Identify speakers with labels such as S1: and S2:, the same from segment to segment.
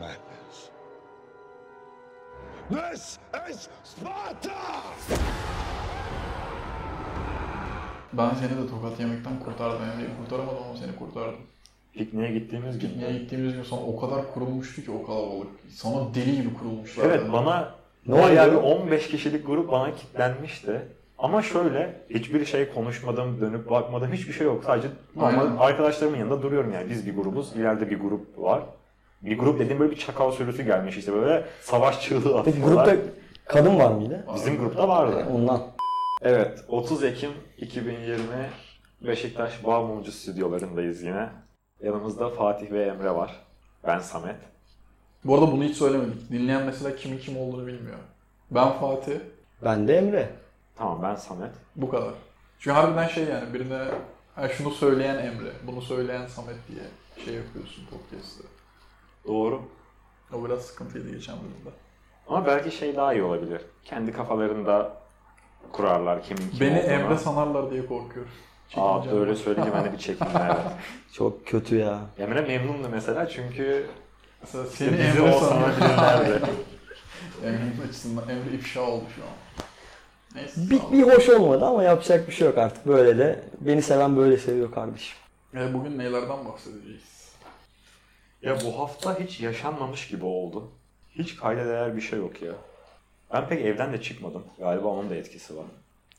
S1: Madness. This is Sparta!
S2: Ben seni de tokat yemekten kurtardım. Yani kurtaramadım ama seni kurtardım.
S3: Pikniğe gittiğimiz gün.
S2: Pikniğe gittiğimiz gün sana o kadar kurulmuştu ki o kalabalık. Sana deli gibi kurulmuşlar.
S3: Evet
S2: yani.
S3: bana
S4: Ne
S3: bayağı bir
S4: oldu?
S3: 15 kişilik grup bana kitlenmişti. Ama şöyle hiçbir şey konuşmadım, dönüp bakmadım, hiçbir şey yok. Sadece normal
S2: Aynen.
S3: arkadaşlarımın yanında duruyorum yani. Biz bir grubuz, ileride bir grup var. Bir grup dediğim böyle bir çakal sürüsü gelmiş işte böyle savaş çığlığı
S4: Peki
S3: atıyorlar.
S4: grupta kadın var mıydı?
S3: Bizim grupta vardı.
S4: Ondan.
S3: Evet, 30 Ekim 2020 Beşiktaş Bağmumcu stüdyolarındayız yine. Yanımızda Fatih ve Emre var. Ben Samet.
S2: Bu arada bunu hiç söylemedik. Dinleyen mesela kimin kim olduğunu bilmiyor. Ben Fatih.
S4: Ben de Emre.
S3: Tamam ben Samet.
S2: Bu kadar. Çünkü harbiden şey yani birine "Ha, şunu söyleyen Emre, bunu söyleyen Samet diye şey yapıyorsun podcast'te.
S3: Doğru.
S2: O biraz sıkıntıydı geçen bölümde.
S3: Ama belki şey daha iyi olabilir. Kendi kafalarında kurarlar kimin kim
S2: Beni
S3: olduğunu.
S2: Emre sanarlar diye korkuyorum.
S3: Aa
S2: Çekineceğim.
S3: öyle söyleyince ben de bir çekindim evet.
S4: Çok kötü ya.
S3: Emre memnundu mesela çünkü
S2: Mesela seni
S3: işte bizi
S2: Emre
S3: o
S2: sanıyor.
S3: sanabilirlerdi.
S2: Emre'nin açısından Emre ifşa oldu şu an. Neyse.
S4: Bir,
S2: sağ ol.
S4: bir hoş olmadı ama yapacak bir şey yok artık böyle de. Beni seven böyle seviyor kardeşim.
S2: E, bugün nelerden bahsedeceğiz?
S3: ya bu hafta hiç yaşanmamış gibi oldu. Hiç kayda değer bir şey yok ya. Ben pek evden de çıkmadım. Galiba onun da etkisi var.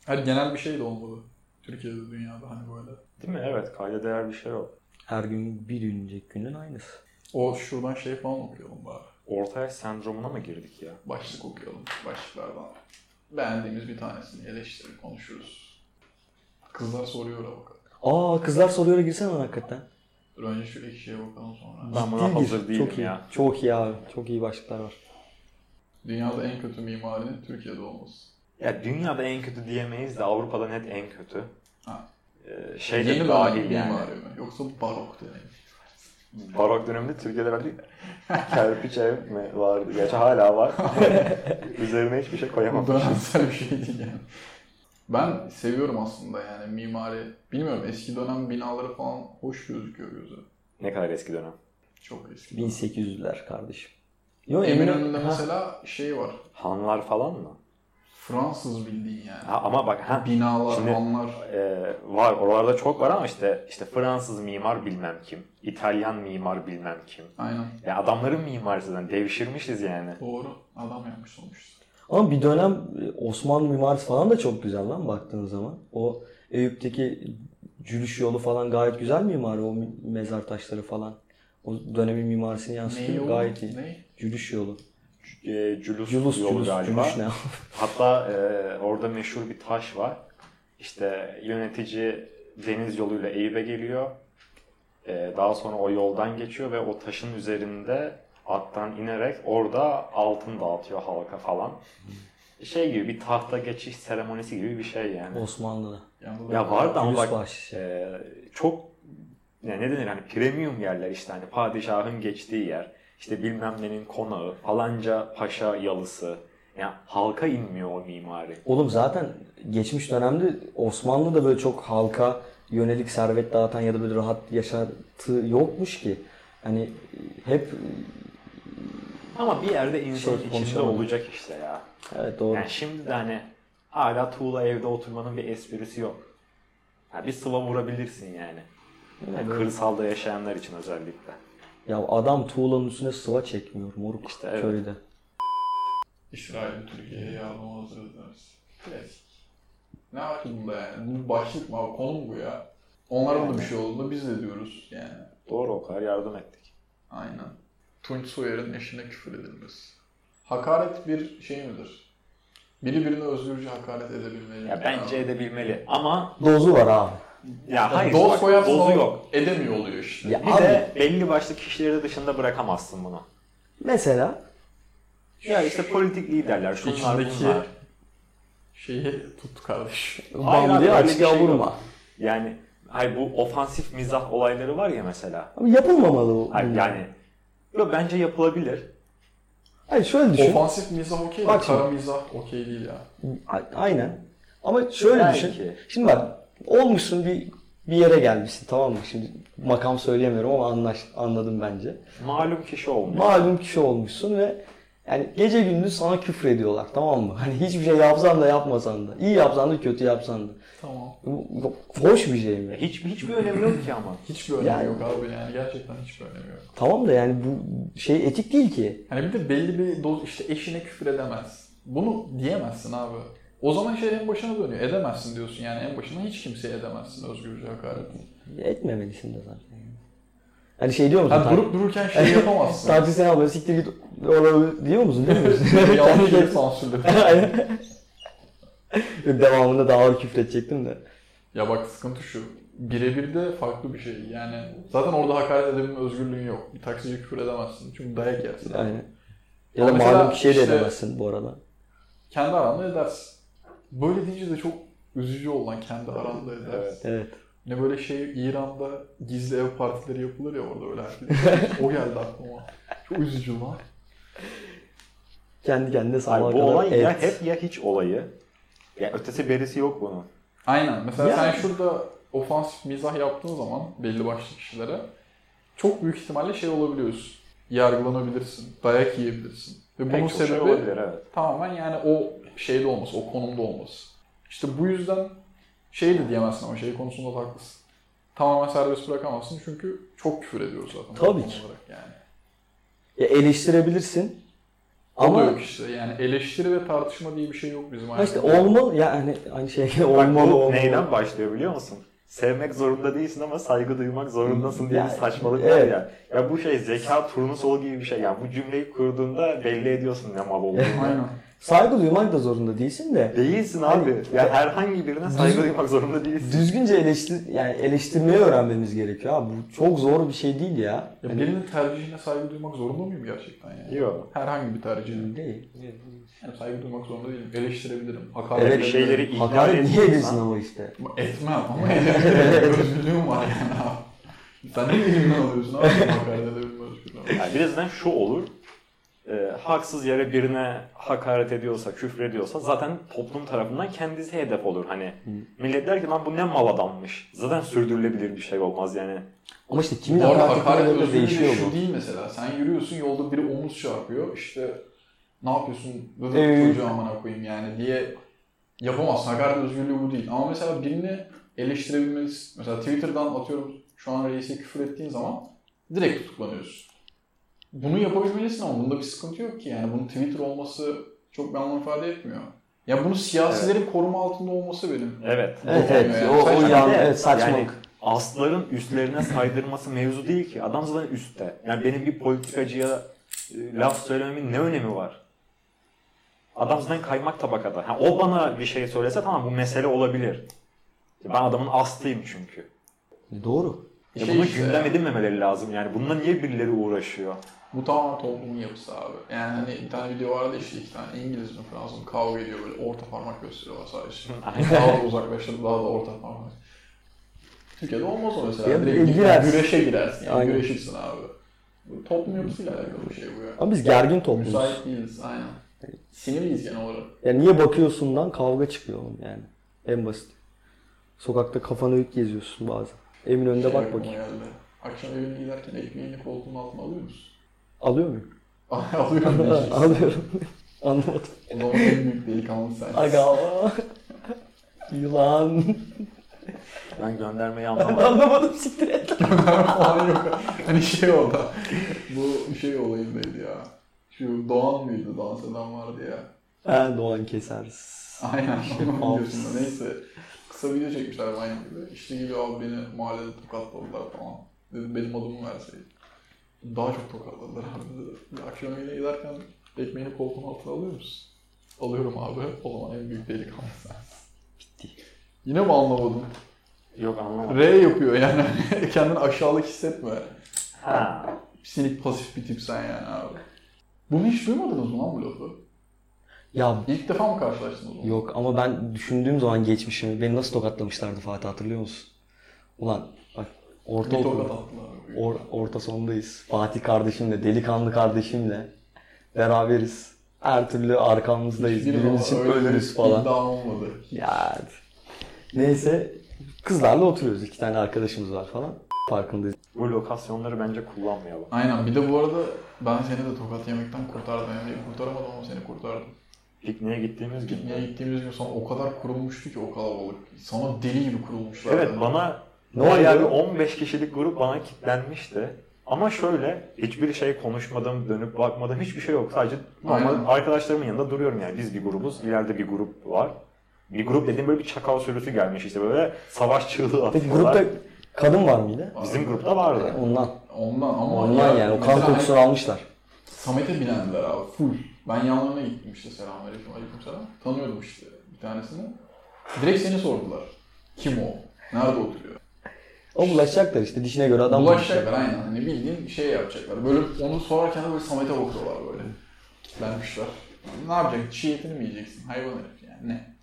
S2: Her genel bir şey de olmadı. Türkiye'de, dünyada hani böyle.
S3: Değil mi? Evet kayda değer bir şey yok.
S4: Her gün bir önceki günden aynısı.
S2: O şuradan şey falan okuyalım bari.
S3: Orta yaş sendromuna mı girdik ya?
S2: başlık okuyalım başlıklardan. Beğendiğimiz bir tanesini eleştirir, konuşuruz. Kızlar soruyor ama bakalım.
S4: Aa kızlar soruyor girsene lan hakikaten.
S2: Dur önce şu ekşiye bakalım sonra.
S3: Ben buna
S4: Ciddi gir.
S3: hazır değilim
S4: çok iyi.
S3: ya.
S4: Çok iyi abi. Çok iyi başlıklar var.
S2: Dünyada en kötü mimarinin Türkiye'de olması.
S3: Ya dünyada en kötü diyemeyiz de Avrupa'da net en kötü.
S2: Ha.
S3: Ee, şey de
S2: Yeni bir
S3: dahil
S2: mimari
S3: yani.
S2: mi? Yoksa barok dönemi. mi?
S3: Barok döneminde Türkiye'de verdiği kerpiç ev mi vardı? Gerçi hala var. Üzerine hiçbir şey
S2: Bu
S3: koyamamış.
S2: dönemsel bir şey değil yani. Ben seviyorum aslında yani mimari. Bilmiyorum eski dönem binaları falan hoş gözüküyor göze.
S3: ne kadar eski dönem.
S2: Çok eski.
S4: 1800'ler kardeşim. Yo
S2: Eminönü'nde
S4: Ha,
S2: mesela şey var.
S3: Hanlar falan mı?
S2: Fransız bildiğin yani.
S3: Ha, ama bak ha
S2: Binalar,
S3: Şimdi-
S2: onlar.
S3: e, var oralarda çok var ama işte işte Fransız mimar bilmem kim, İtalyan mimar bilmem kim.
S2: Aynen.
S3: Ya adamların mimarisinden devşirmişiz yani.
S2: Doğru. Adam yapmış sonuçta.
S4: Ama bir dönem e, Osmanlı mimarisi falan da çok güzel lan baktığın zaman. O Eyüp'teki cülüş yolu falan gayet güzel mimari. O mi- mezar taşları falan. O dönemin mimarisini yansıtıyor.
S2: o?
S4: Gayet iyi.
S2: Ney?
S4: Cülüş yolu.
S3: C- e, cülus,
S4: Cülüs,
S3: yolu
S4: cülüs,
S3: galiba.
S4: cülüs ne?
S3: Hatta e, orada meşhur bir taş var. İşte yönetici deniz yoluyla Eyüp'e geliyor. E, daha sonra o yoldan geçiyor ve o taşın üzerinde attan inerek orada altın dağıtıyor halka falan. Şey gibi bir tahta geçiş seremonisi gibi bir şey yani.
S4: Osmanlı'da.
S2: Yanında da-
S3: Ya vardı ama
S4: Cülüs
S3: bak
S4: bahşişi.
S3: e, çok yani ne denir hani premium yerler işte hani padişahın geçtiği yer. işte bilmem nenin konağı, falanca paşa yalısı. Yani halka inmiyor o mimari.
S4: Oğlum zaten geçmiş dönemde Osmanlı'da böyle çok halka yönelik servet dağıtan ya da böyle rahat yaşantı yokmuş ki. Hani hep
S3: Ama bir yerde insanın
S4: Şey,
S3: içinde
S4: konuşamadım.
S3: olacak işte ya.
S4: evet doğru.
S3: Yani şimdi de hani hala tuğla evde oturmanın bir esprisi yok. Ha, bir sıva vurabilirsin yani. Yani
S4: Evet.
S3: kırsalda yaşayanlar için özellikle.
S4: Ya adam tuğlanın üstüne sıva çekmiyor moruk
S3: İşte evet.
S4: köyde.
S2: İsrail Türkiye'ye yardıma hazır deriz. Klasik. Ne var ki bunda yani? Bu başlık mı? abi? Konu mu bu ya? Onlara da bir şey olduğunda biz de diyoruz yani.
S3: Doğru o kadar yardım ettik.
S2: Aynen. Tunç Soyer'in eşine küfür edilmesi. Hakaret bir şey midir? Biri birine özgürce hakaret edebilmeli.
S3: Ya bence edebilmeli ama
S4: Dozu var abi.
S3: ya hayır
S2: Doz
S3: bak,
S2: koyarsın
S3: dozu
S2: ama
S3: yok.
S2: edemiyor oluyor işte.
S4: Ya
S3: Bir
S4: abi
S3: de belli başlı kişileri dışında bırakamazsın bunu.
S4: mesela
S3: Ya işte politik liderler, şunlar
S2: İçindeki-
S3: bunlar.
S2: Şeyi tut kardeşim.
S3: Hayır abi,
S4: bam diye
S3: öyle bir
S4: açığa
S3: şey yok.
S4: vurma.
S3: Yani hayır bu ofansif mizah olayları var ya mesela.
S4: Ama yapılmamalı bu.
S3: Hayır
S4: bunlar.
S3: yani Yo, bence yapılabilir.
S4: Hayır şöyle düşün.
S2: Ofansif mizah okey de
S4: Bak şimdi.
S2: kara mizah okey değil ya.
S4: A- Aynen. Ama şöyle
S3: Belki.
S4: düşün. Şimdi bak olmuşsun bir bir yere gelmişsin tamam mı? Şimdi makam söyleyemiyorum ama anlaş, anladım bence.
S3: Malum kişi olmuyor.
S4: Malum kişi olmuşsun ve yani gece gündüz sana küfür ediyorlar tamam mı? Hani hiçbir şey yapsan da yapmasan da. iyi yapsan da kötü yapsan da.
S2: Tamam.
S4: Bu- bu Hoş bir şey mi?
S3: Hiç, hiçbir önemi yok ki ama.
S2: Hiçbir önemi
S4: Yani-
S2: yok abi yani gerçekten hiçbir önemi yok.
S4: Tamam da yani bu şey etik değil ki.
S2: Hani bir de belli bir doz işte eşine küfür edemez. Bunu diyemezsin abi. O zaman şey en başına dönüyor. Edemezsin diyorsun yani en başına hiç kimseye edemezsin özgürce hakaret.
S4: Etmemelisin de zaten. Hani şey diyor musun?
S2: Ha durup dururken şey yapamazsın.
S4: Sadece sen al böyle siktir git oraları diyor musun? Diyor musun?
S2: Yanlış yere sansürledim.
S4: Aynen. Yok, Devamında daha ağır küfredecektim de.
S2: Ya bak sıkıntı şu. Birebir de farklı bir şey. Yani zaten orada hakaret edebilme özgürlüğün yok. Bir taksici küfür edemezsin. Çünkü dayak yersin.
S4: Aynen. Ya da
S2: Ama mesela
S4: malum kişiye de
S2: işte-
S4: edemezsin bu arada.
S2: Kendi aranda edersin. Böyle deyince de çok üzücü olan kendi aranda edersin.
S3: Evet.
S4: Evet.
S2: Ne böyle şey İran'da gizli ev partileri yapılır ya orada öyle herkes. o geldi aklıma. Çok üzücü lan.
S4: Kendi kendine
S3: Ay,
S4: sabaha
S3: bu
S4: kadar
S3: olay
S4: et.
S3: ya hep ya hiç olayı. Ya ötesi berisi yok bunun.
S2: Aynen. Mesela
S4: Yani.
S2: sen şurada ofansif mizah yaptığın zaman belli başlı kişilere çok büyük ihtimalle şey olabiliyorsun. Yargılanabilirsin, dayak yiyebilirsin. Ve bunun
S3: Pek çok şey
S2: sebebi
S3: olabilir evet.
S2: tamamen yani o şeyde olması, o konumda olması. İşte bu yüzden şey de diyemezsin ama şey konusunda da haklısın. Tamamen serbest bırakamazsın çünkü çok küfür ediyoruz zaten. bu
S4: Tabii
S2: konu
S4: ki.
S2: olarak Yani.
S4: Ya eleştirebilirsin.
S2: Ama
S4: Ama
S2: yok işte yani eleştiri ve tartışma diye bir şey yok bizim
S4: Ha işte
S2: hayatımızda.
S4: olmalı yani hani şey
S3: Bak
S4: olmalı
S3: bu
S4: olmalı.
S3: neyden başlıyor biliyor musun? Sevmek zorunda değilsin ama saygı duymak zorundasın diye bir
S4: Yani,
S3: saçmalık
S4: evet.
S3: var ya. Ya bu şey zeka turnusol gibi bir şey. Yani bu cümleyi kurduğunda belli ediyorsun ne mal olduğunu.
S2: Aynen.
S4: Saygı duymak da zorunda değilsin de
S3: Değilsin abi. Ya herhangi birine saygı
S4: Düz-
S3: duymak zorunda değilsin.
S4: düzgünce eleştir yani eleştirmeyi öğrenmemiz gerekiyor abi. Bu çok zor bir şey değil ya.
S2: Ya
S4: Hani-
S2: birinin tercihine saygı duymak zorunda mıyım gerçekten yani?
S3: Yok.
S2: Herhangi bir tercihine.
S4: değil.
S2: Yani saygı duymak zorunda değilim. Eleştirebilirim. Hakaret
S4: Evet
S3: bir
S2: edebilirim.
S3: şeyleri ihlal
S4: Hakaret niye ediyorsun
S3: ediyorsan.
S4: ama işte.
S2: Etmem ama eleştirebilirim. Özgürlüğüm var yani abi. Sen ne elimden alıyorsun abi? Hakaret edebilme özgürlüğü.
S3: Yani birazdan şu olur. E, haksız yere birine hakaret ediyorsa, küfür ediyorsa zaten toplum tarafından kendisi hedef olur. Hani millet der ki lan bu ne mal adammış. Zaten sürdürülebilir bir şey olmaz yani.
S4: Ama işte kimin
S2: Bu arada hakaret
S4: hakaret de
S2: özgürlüğü
S4: değişiyor
S2: şu
S4: bu.
S2: değil mesela. Sen yürüyorsun yolda biri omuz çarpıyor. İşte ne yapıyorsun? Böyle
S4: Evet.
S2: çocuğu amına koyayım yani diye yapamazsın. Hakaret özgürlüğü bu değil. Ama mesela birini eleştirebilmelisin. Mesela Twitter'dan atıyorum şu an reise küfür ettiğin zaman direkt tutuklanıyorsun. Bunu yapabilmelisin ama bunda bir sıkıntı yok ki. Yani bunun Twitter olması çok bir anlam ifade etmiyor. Ya bunu siyasilerin koruma altında olması benim.
S3: Evet.
S4: Evet
S2: Olmuyor
S4: evet
S2: yani.
S4: o, o
S2: Saçma
S4: yan
S3: değil.
S4: evet saçmalık.
S3: Yani asların üstlerine saydırması mevzu değil ki. Adam zaten üstte. Yani benim bir politikacıya e, laf söylememin ne önemi var? Adam zaten kaymak tabakada. Ha, o bana bir şey söylese tamam bu mesele olabilir. E, Ben adamın astıyım çünkü.
S4: Doğru.
S3: Ya
S2: Şey
S3: bunu
S2: işte.
S3: gündem edinmemeleri lazım yani. Bununla niye birileri uğraşıyor?
S2: Bu tamamen toplumun yapısı abi. Yani hani bir tane video vardı işte iki tane İngiliz mi Fransız mı kavga ediyor böyle orta parmak gösteriyorlar sadece. daha da uzaklaştırıp daha da orta parmak. Türkiye'de olmaz o mesela.
S4: Ya
S2: Direkt
S4: girersin.
S2: güreşe girersin yani
S4: Aynen.
S2: güreşirsin abi. Bu toplum yapısıyla alakalı bir şey bu ya.
S4: Ama biz gergin toplumuz.
S2: Müsait değiliz aynen. Sinirliyiz genel olarak.
S4: Yani niye bakıyorsundan kavga çıkıyor oğlum yani. En basit. Sokakta kafanı öyük geziyorsun bazen. Emin önünde bak
S2: Aklıma
S4: bakayım.
S2: geldi. Akşam evine giderken ekmeğini koltuğun altına alıyor musun?
S4: Alıyor muyum?
S2: Alıyorum diyeceksin.
S4: Alıyorum. Anlamadım.
S2: O zaman en büyük delikanlı sensin.
S4: Aga. Yılan.
S3: Ben göndermeyi anlamadım.
S4: Anlamadım siktir et.
S2: falan yok. Hani şey oldu. Bu şey olayındaydı ya. Şu Doğan mıydı? Dans eden vardı ya.
S4: Ha, Doğan keseriz.
S2: Aynen.
S4: Şey,
S2: Onun
S4: Alps.
S2: videosunda. Neyse. Kısa video çekmişler aynı gibi. İşte geliyor abi beni mahallede tokatladılar falan. Dedim benim adımı verseydi. Daha çok tokatladılar abi dedi. Bir Akşam yemeğine giderken ekmeğini koltuğun altına alıyor musun? Alıyorum abi. O zaman en büyük delikanlı sensin. Yine mi anlamadın?
S3: Yok anlamadım.
S2: R yapıyor yani. Kendini aşağılık hissetme.
S3: Ha.
S2: Sinik pasif bir tip sen yani abi. Bunu hiç duymadınız mı lan bu lafı?
S4: Ya
S2: İlk defa mı karşılaştınız onunla?
S4: yok ama ben düşündüğüm zaman geçmişimi beni nasıl tokatlamışlardı Fatih hatırlıyor musun? Ulan bak
S2: Bir
S4: orta
S2: tokat attılar.
S4: Or, orta sondayız. Fatih kardeşimle, delikanlı kardeşimle beraberiz. Her türlü arkamızdayız.
S2: Hiçbir
S4: Birimiz için
S2: zaman öyle
S4: ölürüz
S2: bir
S4: falan.
S2: İddia olmadı.
S4: Ya. Neyse Kızlarla oturuyoruz. iki tane arkadaşımız var falan. Farkındayız.
S3: Bu lokasyonları bence kullanmayalım.
S2: Aynen. Bir de bu arada ben seni de tokat yemekten kurtardım. Yani kurtaramadım ama seni kurtardım.
S3: Pikniğe gittiğimiz gün.
S2: Pikniğe gittiğimiz gün sana o kadar kurulmuştu ki o kalabalık. Sana deli gibi kurulmuşlar.
S3: Evet
S2: yani.
S3: bana
S4: Ne
S3: ne bayağı bir
S4: oldu?
S3: 15 kişilik grup bana kilitlenmişti. Ama şöyle hiçbir şey konuşmadım, dönüp bakmadım, hiçbir şey yok. Sadece normal
S4: Hmm.
S2: Aynen.
S3: arkadaşlarımın yanında duruyorum yani. Biz bir grubuz, ileride bir grup var. Bir grup dediğim böyle bir çakal sürüsü gelmiş işte böyle savaş çığlığı
S4: Peki
S3: atıyorlar.
S4: grupta kadın var mıydı?
S3: Bizim grupta vardı.
S4: Ondan.
S2: Ondan ama
S4: Ondan yani. O kan
S2: mesela
S4: kokusunu almışlar.
S2: Samet'e bilendiler abi full. Ben yanlarına gittim işte selamünaleyküm aleyküm selam. Tanıyordum işte bir tanesini. Direkt seni sordular. Kim o? Nerede oturuyor?
S4: O bulaşacaklar işte dişine göre adam
S2: Bulaşacaklar aynen. Hani bildiğin şey yapacaklar. Böyle onu sorarken de böyle Samet'e bakıyorlar böyle. Kitlenmişler. Ne yapacak? Çiğ etini mi yiyeceksin? Hayvan herif yani. Ne?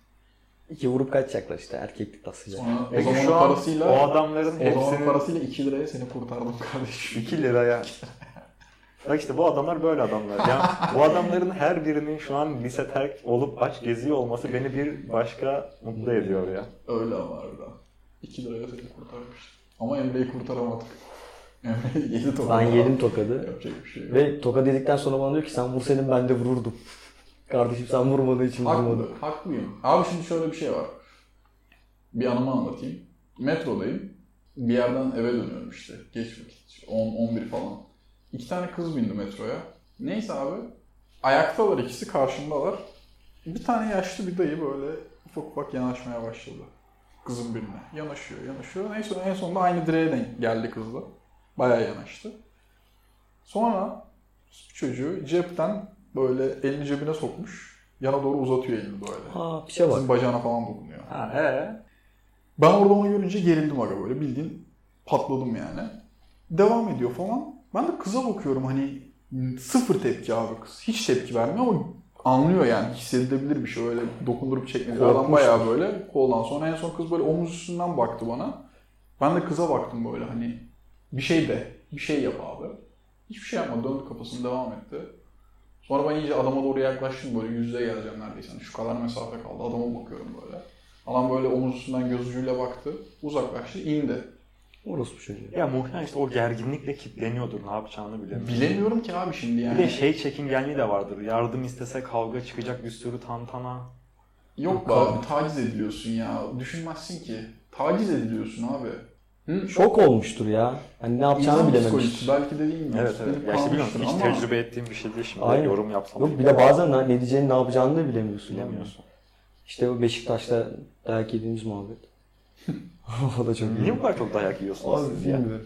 S4: İki vurup kaçacaklar işte erkeklik tasıyla.
S2: Sonra o
S3: Peki
S2: zamanın
S3: şu an
S2: parasıyla
S3: o adamların
S2: o zamanın
S3: hepsinin
S2: parasıyla 2 liraya seni kurtardım kardeşim.
S3: 2 liraya. Bak işte bu adamlar böyle adamlar. Yani bu adamların her birinin şu an lise terk olup aç geziyor olması beni bir başka mutlu ediyor ya.
S2: Öyle ama harbiden. 2 liraya seni kurtarmış. Ama Emre'yi kurtaramadık. Emre yedi tokat.
S4: Ben yedim tokadı.
S2: Yapacak bir şey yok.
S4: Ve tokadı yedikten sonra bana diyor ki sen vursaydın ben de vururdum. Kardeşim sen vurmadığın için
S2: Haklı,
S4: vurmadım.
S2: haklıyım. Abi şimdi şöyle bir şey var. Bir anımı anlatayım. Metrodayım. Bir yerden eve dönüyorum işte. Geç vakit. 10-11 falan. İki tane kız bindi metroya. Neyse abi. Ayaktalar ikisi karşımdalar. Bir tane yaşlı bir dayı böyle ufak ufak yanaşmaya başladı. Kızın birine. Yanaşıyor, yanaşıyor. Neyse en sonunda aynı direğe denk geldi kızla. Bayağı yanaştı. Sonra çocuğu cepten böyle elini cebine sokmuş. Yana doğru uzatıyor elini böyle.
S4: Ha pişe bak.
S2: Sizin bacağına falan dokunuyor.
S3: Ha, ee?
S2: Ben orada onu görünce gerildim aga böyle bildiğin patladım yani. Devam ediyor falan. Ben de kıza bakıyorum hani sıfır tepki abi kız. Hiç tepki vermiyor ama anlıyor yani hissedilebilir bir şey öyle dokundurup çekmedi. Adam
S4: Korkmuş.
S2: bayağı böyle koldan sonra en son kız böyle omuz üstünden baktı bana. Ben de kıza baktım böyle hani bir şey de bir şey yap abi. Hiçbir şey yapmadı döndü kafasını devam etti. Sonra ben iyice adama doğru yaklaştım böyle yüzde geleceğim neredeyse. Hani şu kadar mesafe kaldı adama bakıyorum böyle. Adam böyle omuz üstünden göz ucuyla baktı. Uzaklaştı indi.
S4: Orospu çocuğu.
S3: Ya muhtemelen işte o gerginlikle kilitleniyordur ne yapacağını bilemiyor.
S2: Bilemiyorum ki abi şimdi
S3: Bir de
S2: yani.
S3: şey çekingenliği de vardır. Yardım istese kavga çıkacak bir sürü tantana.
S2: Yok be abi taciz ediliyorsun ya. Düşünmezsin ki. Taciz ediliyorsun abi. Hı?
S4: Şok olmuştur ya. Hani ne yapacağını
S2: İnsan
S4: bilememiş.
S2: psikolojisi belki de değil mi?
S3: Evet evet. Ya işte biliyorum hiç tecrübe ettiğim bir şey değil şimdi.
S4: Aynen.
S3: Yorum yapsam.
S4: Yok bir de bazen ne, ne diyeceğini ne yapacağını da bilemiyorsun.
S3: bilemiyorsun.
S4: İşte o Beşiktaş'ta dayak yediğimiz muhabbet. o da çok iyi.
S3: Niye bu kadar çok dayak yiyorsunuz
S4: Abi
S3: siz ya?
S4: bilmiyorum.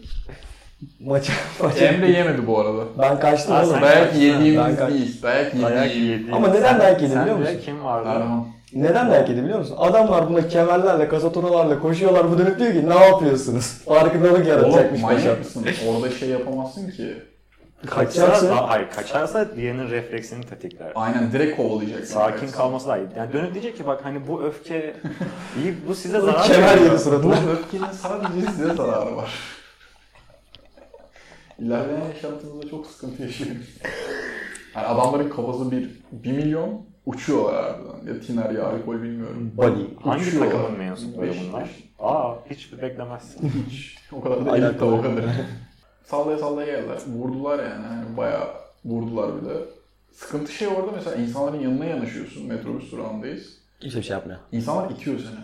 S4: Maça, maça.
S2: Emre yemedi bu arada.
S4: Ben kaçtım
S3: Aa,
S4: oğlum.
S3: sen
S2: Dayak
S3: kaçtın.
S2: yediğimiz
S4: Ben-
S2: değil. Dayak
S3: Dayak
S2: yediğimiz.
S3: yedi.
S4: Ama neden dayak yedi
S3: Sen
S4: biliyor
S3: de
S4: musun?
S3: kim vardı?
S2: Erhan.
S4: Neden dayak yedi biliyor musun? Adamlar buna kemerlerle, kasatoralarla koşuyorlar. Bu dönüp diyor ki ne yapıyorsunuz? Farkındalık
S2: Oğlum
S4: yaratacakmış paşa.
S2: manyak mısın? Orada şey yapamazsın ki.
S4: Kaçacaksın.
S3: Aa, hayır kaçarsa diğerinin refleksini tetikler.
S2: Aynen direkt kovalayacaksın.
S3: Sakin
S2: Kaçsın.
S3: kalması daha iyi. Yani dönüp diyecek ki bak hani bu öfke iyi, bu size zarar
S4: Kemer
S3: veriyor.
S4: yedi
S2: Bu
S4: suratına.
S2: öfkenin sadece size zararı var. İlerleyen yaşantınızda çok sıkıntı yaşıyorsunuz. Yani adamların kafası bir, bir milyon uçuyorlar harbiden. Ya tiner ya alkol bilmiyorum.
S4: Body.
S3: Hangi
S2: Uçuyorlar.
S3: takımın mensupları
S2: Beş-
S3: bunlar?
S2: beş-
S3: Aa hiç beklemezsin.
S2: Hiç. O kadar da elit de o kadar. sallaya sallaya geldiler. Vurdular yani. Hani bayağı vurdular bir de. Sıkıntı şey orada mesela insanların yanına yanaşıyorsun. Metrobüs durağındayız.
S4: Kimse bir şey yapmıyor.
S2: İnsanlar itiyor seni.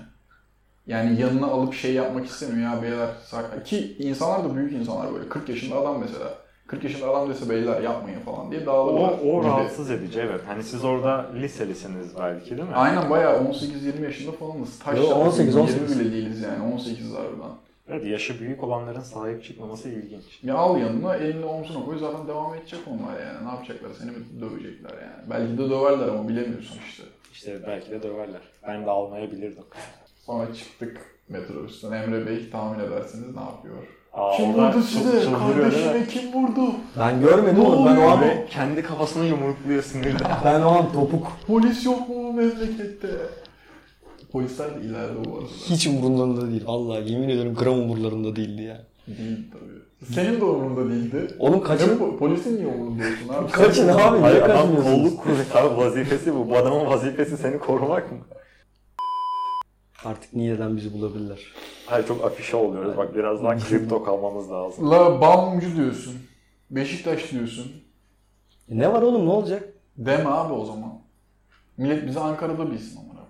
S2: Yani yanına alıp şey yapmak istemiyor ya beyler. sakin. Ki insanlar da büyük insanlar böyle. 40 yaşında adam mesela. 40 yaşında adam dese beyler yapmayın falan diye
S3: o,
S2: dağılırlar.
S3: o
S2: gibi.
S3: rahatsız edici evet. Hani siz orada liselisiniz belki değil mi?
S2: Aynen bayağı 18-20 yaşında falanız. Taş
S4: Yo, 18,
S2: 20
S4: 18.
S2: bile değiliz yani 18 harbiden.
S3: Evet yaşı büyük olanların sahip çıkmaması ilginç.
S2: Ya al yanına elini omzuna koy zaten devam edecek onlar yani. Ne yapacaklar seni mi dövecekler yani. Belki de döverler ama bilemiyorsun işte.
S3: İşte belki de döverler. Ben de almayabilirdim.
S2: Sonra çıktık metrobüsten. Emre Bey tahmin edersiniz ne yapıyor?
S3: Aa,
S2: kim
S3: onlar
S2: vurdu
S3: çıl-
S2: size?
S3: çıldırıyor değil mi?
S2: Kardeşime kim vurdu?
S4: Ben görmedim
S2: Ne
S4: oğlum. Ben o an,
S3: Ve kendi kafasını yumrukluyor sinirden.
S4: ben o an topuk.
S2: Polis yok mu bu memlekette? Polisler de ileride bu arada.
S4: Hiç umurlarında değil. Vallahi yemin ediyorum gram umurlarında değildi ya.
S2: Değil tabii. Senin de umurunda değildi.
S4: Oğlum
S2: Ya
S4: kaçın.
S2: bu polisin niye umurunda olsun abi?
S4: Kaçın abi.
S3: Hayır
S4: Niye
S3: adam
S4: kaçmıyorsunuz?
S3: kolluk kuvveti. Abi vazifesi bu. Bu adamın vazifesi seni korumak mı?
S4: Artık Niğde'den bizi bulabilirler.
S3: Hayır çok afişe oluyoruz. Bak biraz daha kripto kalmamız lazım.
S2: La Bamcı diyorsun. Beşiktaş diyorsun.
S4: E ne var oğlum ne olacak?
S2: Deme abi o zaman. Millet bizi Ankara'da bilsin amına koyayım.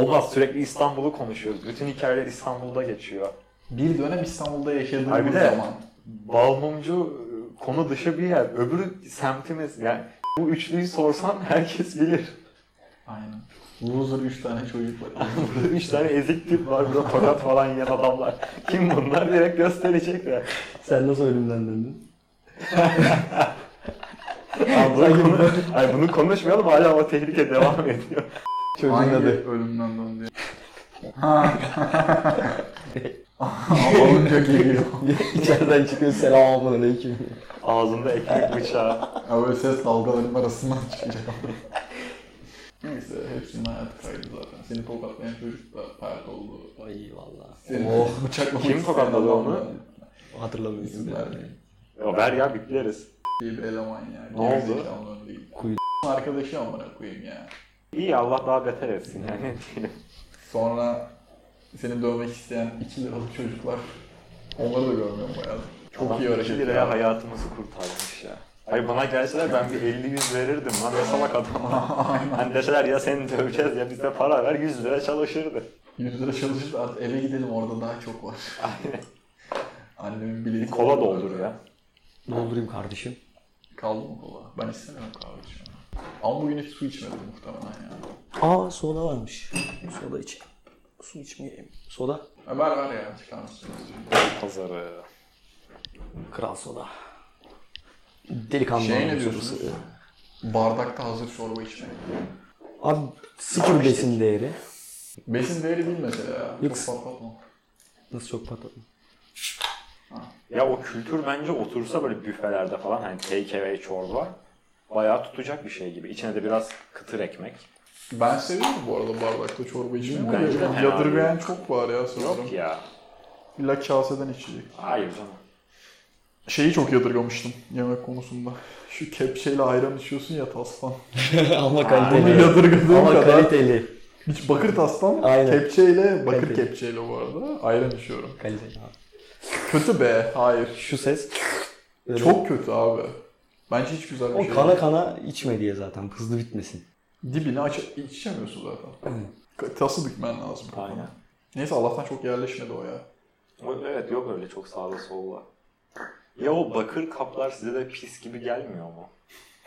S3: Lan o olmaz. Sürekli İstanbul'u konuşuyoruz. Bütün hikayeler İstanbul'da geçiyor.
S2: Bir dönem İstanbul'da yaşadığımız
S3: Harbi de.
S2: zaman.
S3: Balmumcu e, konu dışı bir yer. Öbürü semtimiz. Yani bu üçlüyü sorsan herkes bilir.
S2: Aynen. Loser 3 tane çocuk var.
S3: Burada üç tane ezik tip var. Burada tokat falan yiyen adamlar. Kim bunlar direkt gösterecekler.
S4: Sen nasıl ölümden döndün?
S3: Lan bunu, konu, Ay bunu konuşmayalım hala o tehlike devam ediyor.
S2: Hangi
S4: Çocuğun adı.
S2: ölümden döndü? Ha. Olunca geliyor.
S4: İçeriden çıkıyor selamun aleyküm.
S3: Ağzında ekmek bıçağı.
S2: Ya böyle ses dalgalarının arasından çıkacak. Neyse hepsinin hayatı kaydı zaten. Seni tokatlayan çocuk da hayat oldu.
S4: Ay valla.
S2: Seni
S4: Oh
S2: bıçaklamak
S3: Kim
S2: isteyen
S3: tokatladı
S2: adam
S3: onu?
S2: var.
S4: hatırlamıyorum.
S2: İsim
S4: Yani.
S2: vermeyeyim.
S3: Ya ver ya bipleriz.
S2: İyi bir eleman yani.
S3: Ne oldu?
S2: Gerizekalı değil.
S4: Kuyu-
S2: Arkadaşı amına koyayım ya.
S3: İyi Allah daha beter etsin yani ne diyelim.
S2: Sonra seni dövmek isteyen 2 liralık çocuklar. Onları da görmüyorum bayağı. Çok iyi
S3: iki
S2: hareket
S3: liraya
S2: ya.
S3: hayatımızı kurtarmış ya. Hayır bana gelseler ben bir 50-100 verirdim lan ne salak adam. hani deseler ya seni döveceğiz ya bize para ver 100 lira çalışırdı.
S2: 100 lira çalışıp da artık eve gidelim orada daha çok var.
S3: Aynen.
S2: Annemin bileği.
S3: Bir kola doldur ya.
S4: Doldurayım kardeşim.
S2: Kaldı mı kola? Ben istemiyorum kahve şu an. Ama bugün hiç su içmedim muhtemelen ya.
S4: Aa soda varmış. Soda içeyim. Su içmeyeyim. Soda.
S2: Ha, Ver ver ya çıkar mısın?
S3: Pazarı.
S4: Kral soda. Delikanlı.
S2: Şey ne
S4: olmuş
S2: diyorsunuz?
S4: sorusu.
S2: Bardakta hazır çorba içmek.
S4: Abi sıfır besin değeri.
S2: Besin değeri değil mesela ya. Çok
S4: Yok.
S2: patlatma.
S4: Nasıl çok patladım.
S3: Ya o kültür bence otursa böyle büfelerde falan hani take away çorba bayağı tutacak bir şey gibi. İçine de biraz kıtır ekmek.
S2: Ben seviyorum bu arada bardakta çorba içmeyi ama
S3: Bence de fena
S2: yadırgayan çok var ya sanırım.
S3: Yok ya.
S2: İlla kaseden içecek.
S3: Hayır canım.
S2: Şeyi çok yadırgamıştım yemek konusunda. Şu kepçeyle ayran içiyorsun ya tastan.
S4: Ama
S2: Bunu
S4: kaliteli.
S2: yadırgadığım
S4: Ama
S2: kadar.
S4: kaliteli.
S2: Hiç bakır tastan
S4: Aynen.
S2: kepçeyle, bakır
S4: Kaliteli.
S2: kepçeyle bu arada ayran içiyorum.
S4: Kaliteli.
S2: Kötü be, hayır.
S4: Şu ses. Böyle-
S2: Çok kötü abi. Bence hiç güzel bir
S4: O
S2: şey
S4: kana
S2: değil.
S4: kana içme diye zaten hızlı bitmesin.
S2: Dibini aç içemiyorsun zaten.
S4: Evet.
S2: Ka- Tası dikmen lazım. bu
S3: Aynen.
S2: kana. Neyse Allah'tan çok yerleşmedi o ya.
S3: O- Evet yok öyle çok sağda solda. Ya o bakır kaplar size de pis gibi gelmiyor mu?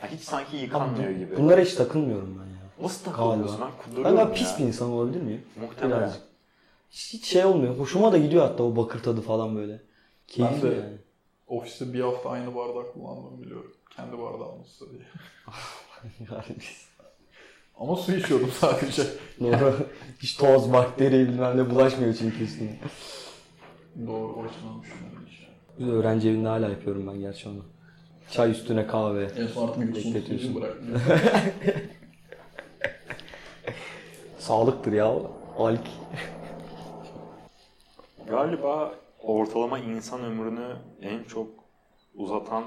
S3: Ya hiç sanki yıkanmıyor gibi.
S4: Bunlara hiç takılmıyorum ben ya.
S3: Nasıl takılıyorsun lan?
S4: Ben
S3: Kuduruyorum
S4: daha pis bir
S3: ya.
S4: insan olabilir miyim?
S3: Muhtemelen.
S4: Birazcık. Hiç, hiç şey olmuyor. Hoşuma da gidiyor hatta o bakır tadı falan böyle. Keyifli
S2: de-
S4: yani.
S2: Ofiste bir hafta aynı bardak kullandım biliyorum. Kendi bardağımızda diye.
S4: Harbimiz.
S2: Ama su içiyordum sadece.
S4: Doğru. Hiç toz, bakteri bilmem ne bulaşmıyor çünkü üstüne.
S2: Doğru, o açıdan düşünmedim hiç.
S4: Biz öğrenci evinde hala yapıyorum ben gerçi onu. Çay üstüne kahve.
S2: En son artık yurtsuzluk
S4: Bekletiyorsun.
S2: yüzünü bırakmıyor.
S4: Sağlıktır ya o. Alik.
S3: Galiba ortalama insan ömrünü en çok uzatan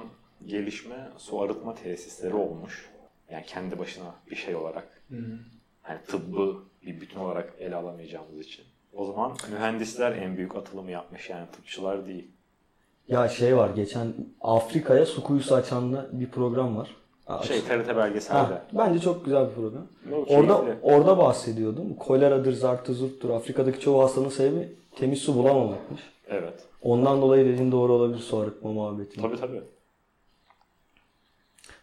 S3: gelişme su arıtma tesisleri olmuş. Yani kendi başına bir şey olarak. Hani tıbbı bir bütün olarak ele alamayacağımız için. O zaman mühendisler en büyük atılımı yapmış yani tıpçılar değil.
S4: Ya şey var geçen Afrika'ya su kuyusu açanlı bir program var. Aa,
S3: Şey TRT belgeselde.
S4: Ha, bence çok güzel bir program.
S3: Yok,
S4: Orada
S3: keyifli.
S4: orada bahsediyordum. Koleradır, zartı, zurttur. Afrika'daki çoğu hastanın sebebi temiz su bulamamakmış.
S3: Evet.
S4: Ondan dolayı dediğin doğru olabilir su arıtma muhabbeti.
S3: Tabii tabii.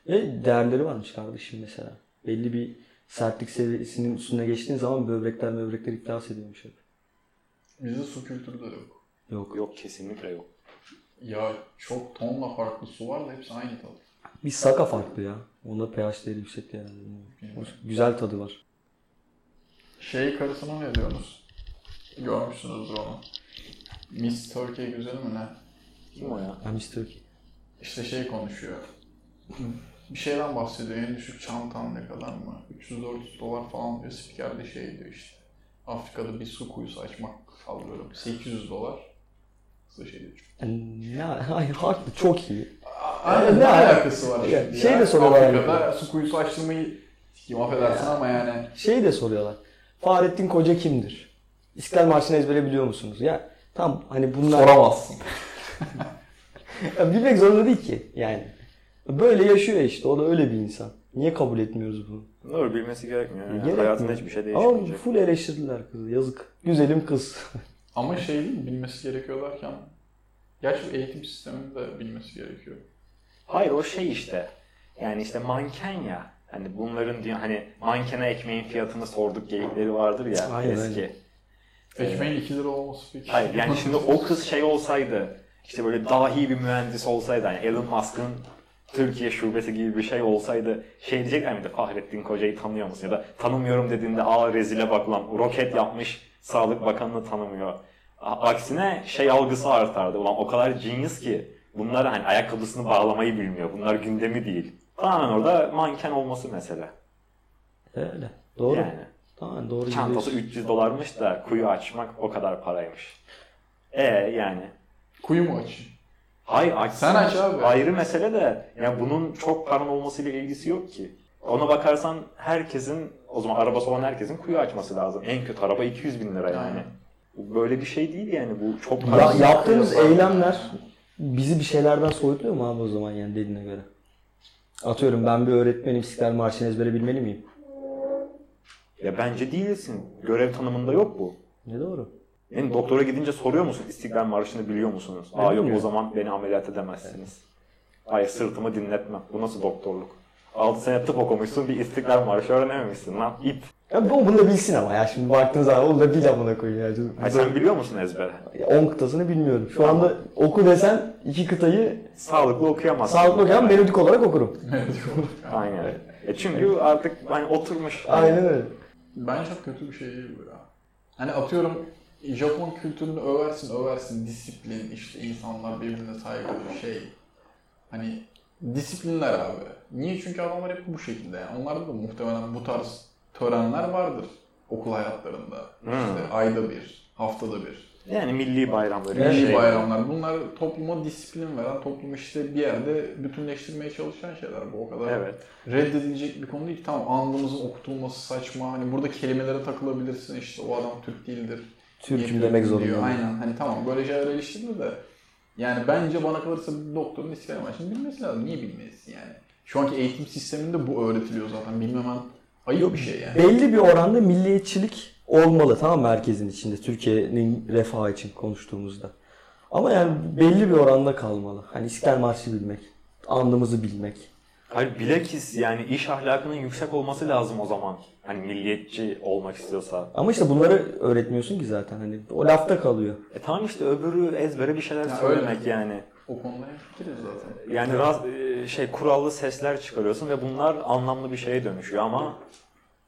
S4: Ve değerleri varmış kardeşim mesela. Belli bir sertlik seviyesinin üstüne geçtiğin zaman böbrekler böbrekler iflas ediyormuş hep.
S2: Bizde su kültürü de yok.
S4: Yok.
S3: Yok kesinlikle yok.
S2: Ya çok tonla farklı su var da hepsi aynı tadı.
S4: Bir saka farklı ya. Onda pH değeri yüksek herhalde. bilmiyorum. Güzel tadı var.
S2: Şey karısına ne diyorsunuz? Görmüşsünüzdür onu. Miss Turkey güzeli mi ne?
S3: Kim o ya?
S4: Ben istiyorum ki.
S2: İşte şey konuşuyor. Bir şeyden bahsediyor. En düşük çantam ne kadar mı? 300-400 dolar falan diyor. Spiker de şey diyor işte. Afrika'da bir su kuyusu açmak sallıyorum. 800 dolar. Size şey diyor.
S4: Ne, hayır haklı çok iyi.
S2: Aynen, ne alakası var
S4: Ya,
S2: şimdi
S4: şey
S2: ya?
S4: de soruyorlar yani.
S2: Afrika'da su kuyusu açtırmayı kim affedersin ama yani.
S4: Şey de soruyorlar. Fahrettin Koca kimdir? İstiklal Marşı'nı ezbere biliyor musunuz? Ya tam hani bunlar...
S2: Soramazsın.
S4: Ya bilmek zorunda değil ki yani. Böyle yaşıyor işte. O da öyle bir insan. Niye kabul etmiyoruz bunu?
S3: Doğru bilmesi gerekmiyor. Yani.
S4: Gerekmiyor.
S3: Hayatında hiçbir şey
S4: Ama
S3: değişmeyecek.
S4: full eleştirdiler kızı. Yazık. Güzelim kız.
S2: Ama şey değil mi? Bilmesi gerekiyor derken. Gerçi bu eğitim sistemini de bilmesi gerekiyor.
S3: Hayır o şey işte. Yani işte manken ya. Hani bunların diyor hani mankene ekmeğin fiyatını sorduk geyikleri vardır ya
S4: Aynen,
S3: eski.
S4: aynen.
S2: Ekmeğin 2 lira olması peki.
S3: Hayır yani şimdi o kız şey olsaydı işte böyle dahi bir mühendis olsaydı yani Elon Musk'ın Türkiye şubesi gibi bir şey olsaydı şey diyecekler miydi Fahrettin Koca'yı tanıyor musun ya da tanımıyorum dediğinde aa rezile bak lan roket yapmış Sağlık Bakanı'nı tanımıyor. A- Aksine şey algısı artardı ulan o kadar genius ki bunlar hani ayakkabısını bağlamayı bilmiyor bunlar gündemi değil. Tamamen orada manken olması mesele.
S4: Öyle. Doğru.
S3: Yani.
S4: Tamam doğru.
S3: Çantası 300 dolarmış da kuyu açmak o kadar paraymış. E yani.
S2: Kuyu mu açayım?
S3: Hayır aç.
S2: Sen aç abi.
S3: Ayrı mesele de ya bunun çok paran olmasıyla ilgisi yok ki. Ona bakarsan herkesin o zaman arabası olan herkesin kuyu açması lazım. En kötü araba 200 bin lira yani.
S2: Aynen.
S3: Bu Böyle bir şey değil yani bu çok
S4: Ya,
S3: parasız
S4: yaptığımız
S3: yapılan-
S4: eylemler bizi bir şeylerden soyutluyor mu abi o zaman yani dediğine göre? Atıyorum ben bir öğretmenim İstiklal Marşı'nı ezbere bilmeli miyim?
S3: Ya bence değilsin. Görev tanımında yok bu.
S4: Ne doğru.
S3: Yani doktora gidince soruyor musun İstiklal Marşı'nı biliyor musunuz?
S4: Ben
S3: Aa yok o
S4: bilmiyorum.
S3: zaman beni ameliyat edemezsiniz. Ay sırtımı dinletmem. Bu nasıl doktorluk? 6 sene tıp okumuşsun bir İstiklal Marşı öğrenememişsin lan it.
S4: Ya bu- bunu da bilsin ama ya şimdi baktığınız zaman onu da bil amına koyayım ya.
S3: Ay sen biliyor musun ezbere?
S4: 10 kıtasını bilmiyorum. Şu anda oku desen iki kıtayı
S3: Sağlıklı okuyamazsın.
S4: sağlıklı okuyan melodik olarak okurum.
S3: Aynen. E çünkü artık hani oturmuş.
S4: Aynen öyle.
S2: Bence çok kötü bir şey değil bu ya. Hani atıyorum Japon kültürünü översin översin disiplin işte insanlar birbirine saygı şey hani disiplinler abi. Niye? Çünkü adamlar hep bu şekilde yani. Onlarda da muhtemelen bu tarz törenler vardır okul hayatlarında. İşte ayda bir, haftada bir.
S3: Hmm. Yani milli bayramları.
S4: Milli
S2: Milli
S3: şey.
S2: bayramlar. Bunlar topluma disiplin veren, toplumu işte bir yerde bütünleştirmeye çalışan şeyler. Bu o kadar
S3: Evet.
S2: reddedilecek bir konu değil. ki. Tamam andımızın okutulması saçma. Hani burada kelimelere takılabilirsin. İşte o adam Türk değildir. Niye
S4: Türk'üm
S2: Türk
S4: demek
S2: diyor.
S4: zorunda.
S2: Aynen. Hani tamam böyle şeyler eleştirilir de. Yani bence bana kalırsa bir doktorun istiklal maçını bilmesi lazım. Niye bilmesi yani? Şu anki eğitim sisteminde bu öğretiliyor zaten. Bilmemen ayıp bir şey yani.
S4: Belli bir oranda milliyetçilik olmalı tamam mı herkesin içinde Türkiye'nin refahı için konuştuğumuzda. Ama yani belli bir oranda kalmalı. Hani İstiklal Marşı bilmek, andımızı bilmek.
S3: Hayır bilakis yani iş ahlakının yüksek olması lazım o zaman. Hani milliyetçi olmak istiyorsa.
S4: Ama işte bunları öğretmiyorsun ki zaten hani o lafta kalıyor.
S3: E tamam işte öbürü ezbere bir şeyler
S2: Ya
S3: söylemek
S2: öyle.
S3: yani.
S2: O konuda hemfikiriz zaten.
S3: Yani raz, e, şey kurallı sesler çıkarıyorsun ve bunlar anlamlı bir şeye dönüşüyor ama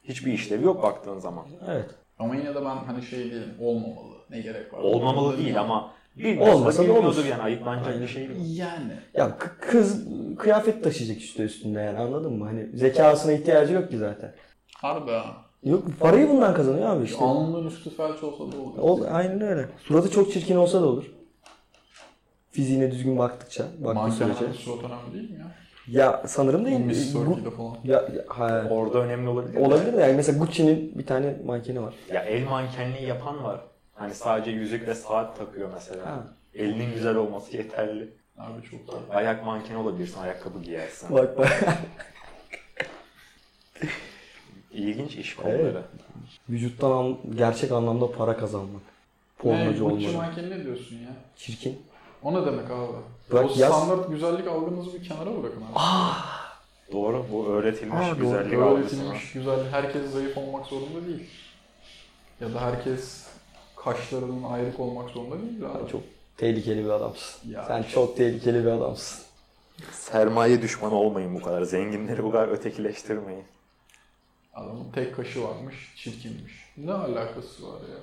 S3: hiçbir işlevi yok baktığın zaman.
S4: Evet.
S2: Ama yine de ben hani şey değilim. Olmamalı. Ne gerek var?
S3: Olmamalı değil ama
S4: Olmasa
S3: bilmiyorsa
S4: da
S3: bilmiyordur
S4: olur.
S3: yani ayıplanacak
S4: Aynen.
S3: bir şey değil.
S2: Yani.
S4: Ya k- kız kıyafet taşıyacak işte üstünde yani anladın mı? Hani zekasına ihtiyacı yok ki zaten.
S2: Harbi ha.
S4: Yok parayı bundan kazanıyor abi işte.
S2: Alnının üstü felç olsa da olur.
S4: Ol, aynen öyle. Suratı çok çirkin olsa da olur. Fiziğine düzgün baktıkça, baktığı sürece.
S2: Mankenlerin surat önemli değil mi ya?
S4: Ya sanırım değil. e,
S2: Miss
S4: Bu-
S2: Turkey'de falan.
S4: Ya, ya- ha.
S3: Orada önemli olabilir. de.
S4: Olabilir de yani mesela Gucci'nin bir tane mankeni var.
S3: Ya el mankenliği yapan var. Hani sadece yüzük ve saat takıyor mesela.
S4: Ha.
S3: Elinin güzel olması yeterli.
S2: Abi çok da.
S3: Ayak mankeni olabilirsin, ayakkabı giyersin.
S4: Bak bak.
S3: İlginç iş kolları.
S4: Vücuttan an- gerçek anlamda para kazanmak.
S2: Ne,
S4: Pornocu
S2: Gucci
S4: olmak.
S2: mankeni ne diyorsun ya?
S4: Çirkin.
S2: O ne demek abi?
S4: Bırak
S2: o
S4: yaz. Ah,
S2: standart güzellik algınızı bir kenara bırakın abi.
S3: Doğru, bu öğretilmiş
S4: Aa, doğru.
S3: güzellik algısı var.
S2: Öğretilmiş güzel, herkes zayıf olmak zorunda değil. Ya da herkes kaşlarının ayrık olmak zorunda değil abi.
S4: Çok tehlikeli bir adamsın.
S2: Ya.
S4: Sen çok tehlikeli bir adamsın.
S3: Sermaye düşmanı olmayın bu kadar. Zenginleri bu kadar ötekileştirmeyin.
S2: Adamın tek kaşı varmış, çirkinmiş. Ne alakası var ya?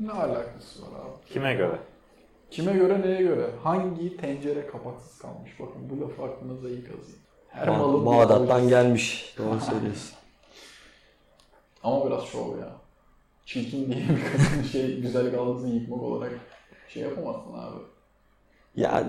S2: Ne alakası var abi?
S3: Kime göre?
S2: Kime göre neye göre? Hangi tencere kapaksız kalmış? Bakın bu lafı aklınıza iyi kazıyın. Her malın
S4: Ba-
S2: bir
S4: Bağdat'tan
S2: algısı-
S4: gelmiş. Doğru söylüyorsun.
S2: Ama biraz şov ya. Çirkin diye bir kadın şey güzellik algısını yıkmak olarak şey yapamazsın abi.
S4: ya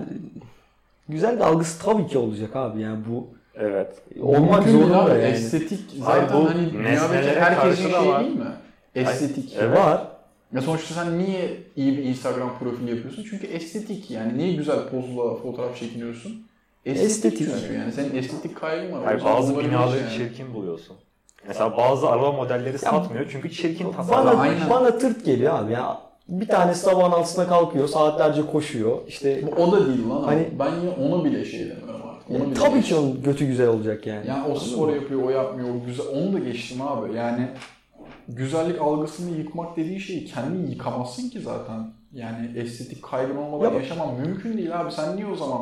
S4: güzel de algısı tabii ki olacak abi yani bu.
S3: Evet.
S4: Olmak
S2: Mümkün değil
S4: zorunda
S2: abi.
S4: yani.
S2: Estetik
S3: Hayır,
S2: zaten
S3: bu
S2: hani dünyadaki
S3: nesnelere
S2: herkesin
S3: karşı da
S2: şey
S3: var.
S2: değil mi? Estetik.
S3: Evet.
S4: Var.
S2: Ya sonuçta sen niye iyi bir Instagram profili yapıyorsun? Çünkü estetik yani. Niye güzel pozla fotoğraf çekiniyorsun? Estetik.
S4: Estetik.
S2: çünkü yani. Senin estetik kaygın var. O
S3: Hayır,
S2: yüzden
S3: bazı
S2: olabilir
S3: binaları şey-
S2: yani.
S3: çirkin buluyorsun. Mesela bazı araba modelleri satmıyor çünkü çirkin tasarım.
S2: Vallahi
S4: Bana,
S2: aynen.
S4: bana tırt geliyor abi ya. Bir tanesi sabahın altısına kalkıyor, saatlerce koşuyor. İşte
S2: Bu o da değil lan. ama
S4: Hani-
S2: ben yine ona bile şey demiyorum artık.
S3: E,
S2: Ona bile şey
S4: tabii ki
S2: geçtim.
S4: onun götü güzel olacak yani.
S2: Yani o spor yapıyor, o yapmıyor, o güzel. Onu da geçtim abi. Yani güzellik algısını yıkmak dediği şeyi kendini yıkamazsın ki zaten. Yani estetik kaygın olmadan
S4: Ya-
S2: yaşaman mümkün değil abi. Sen niye o zaman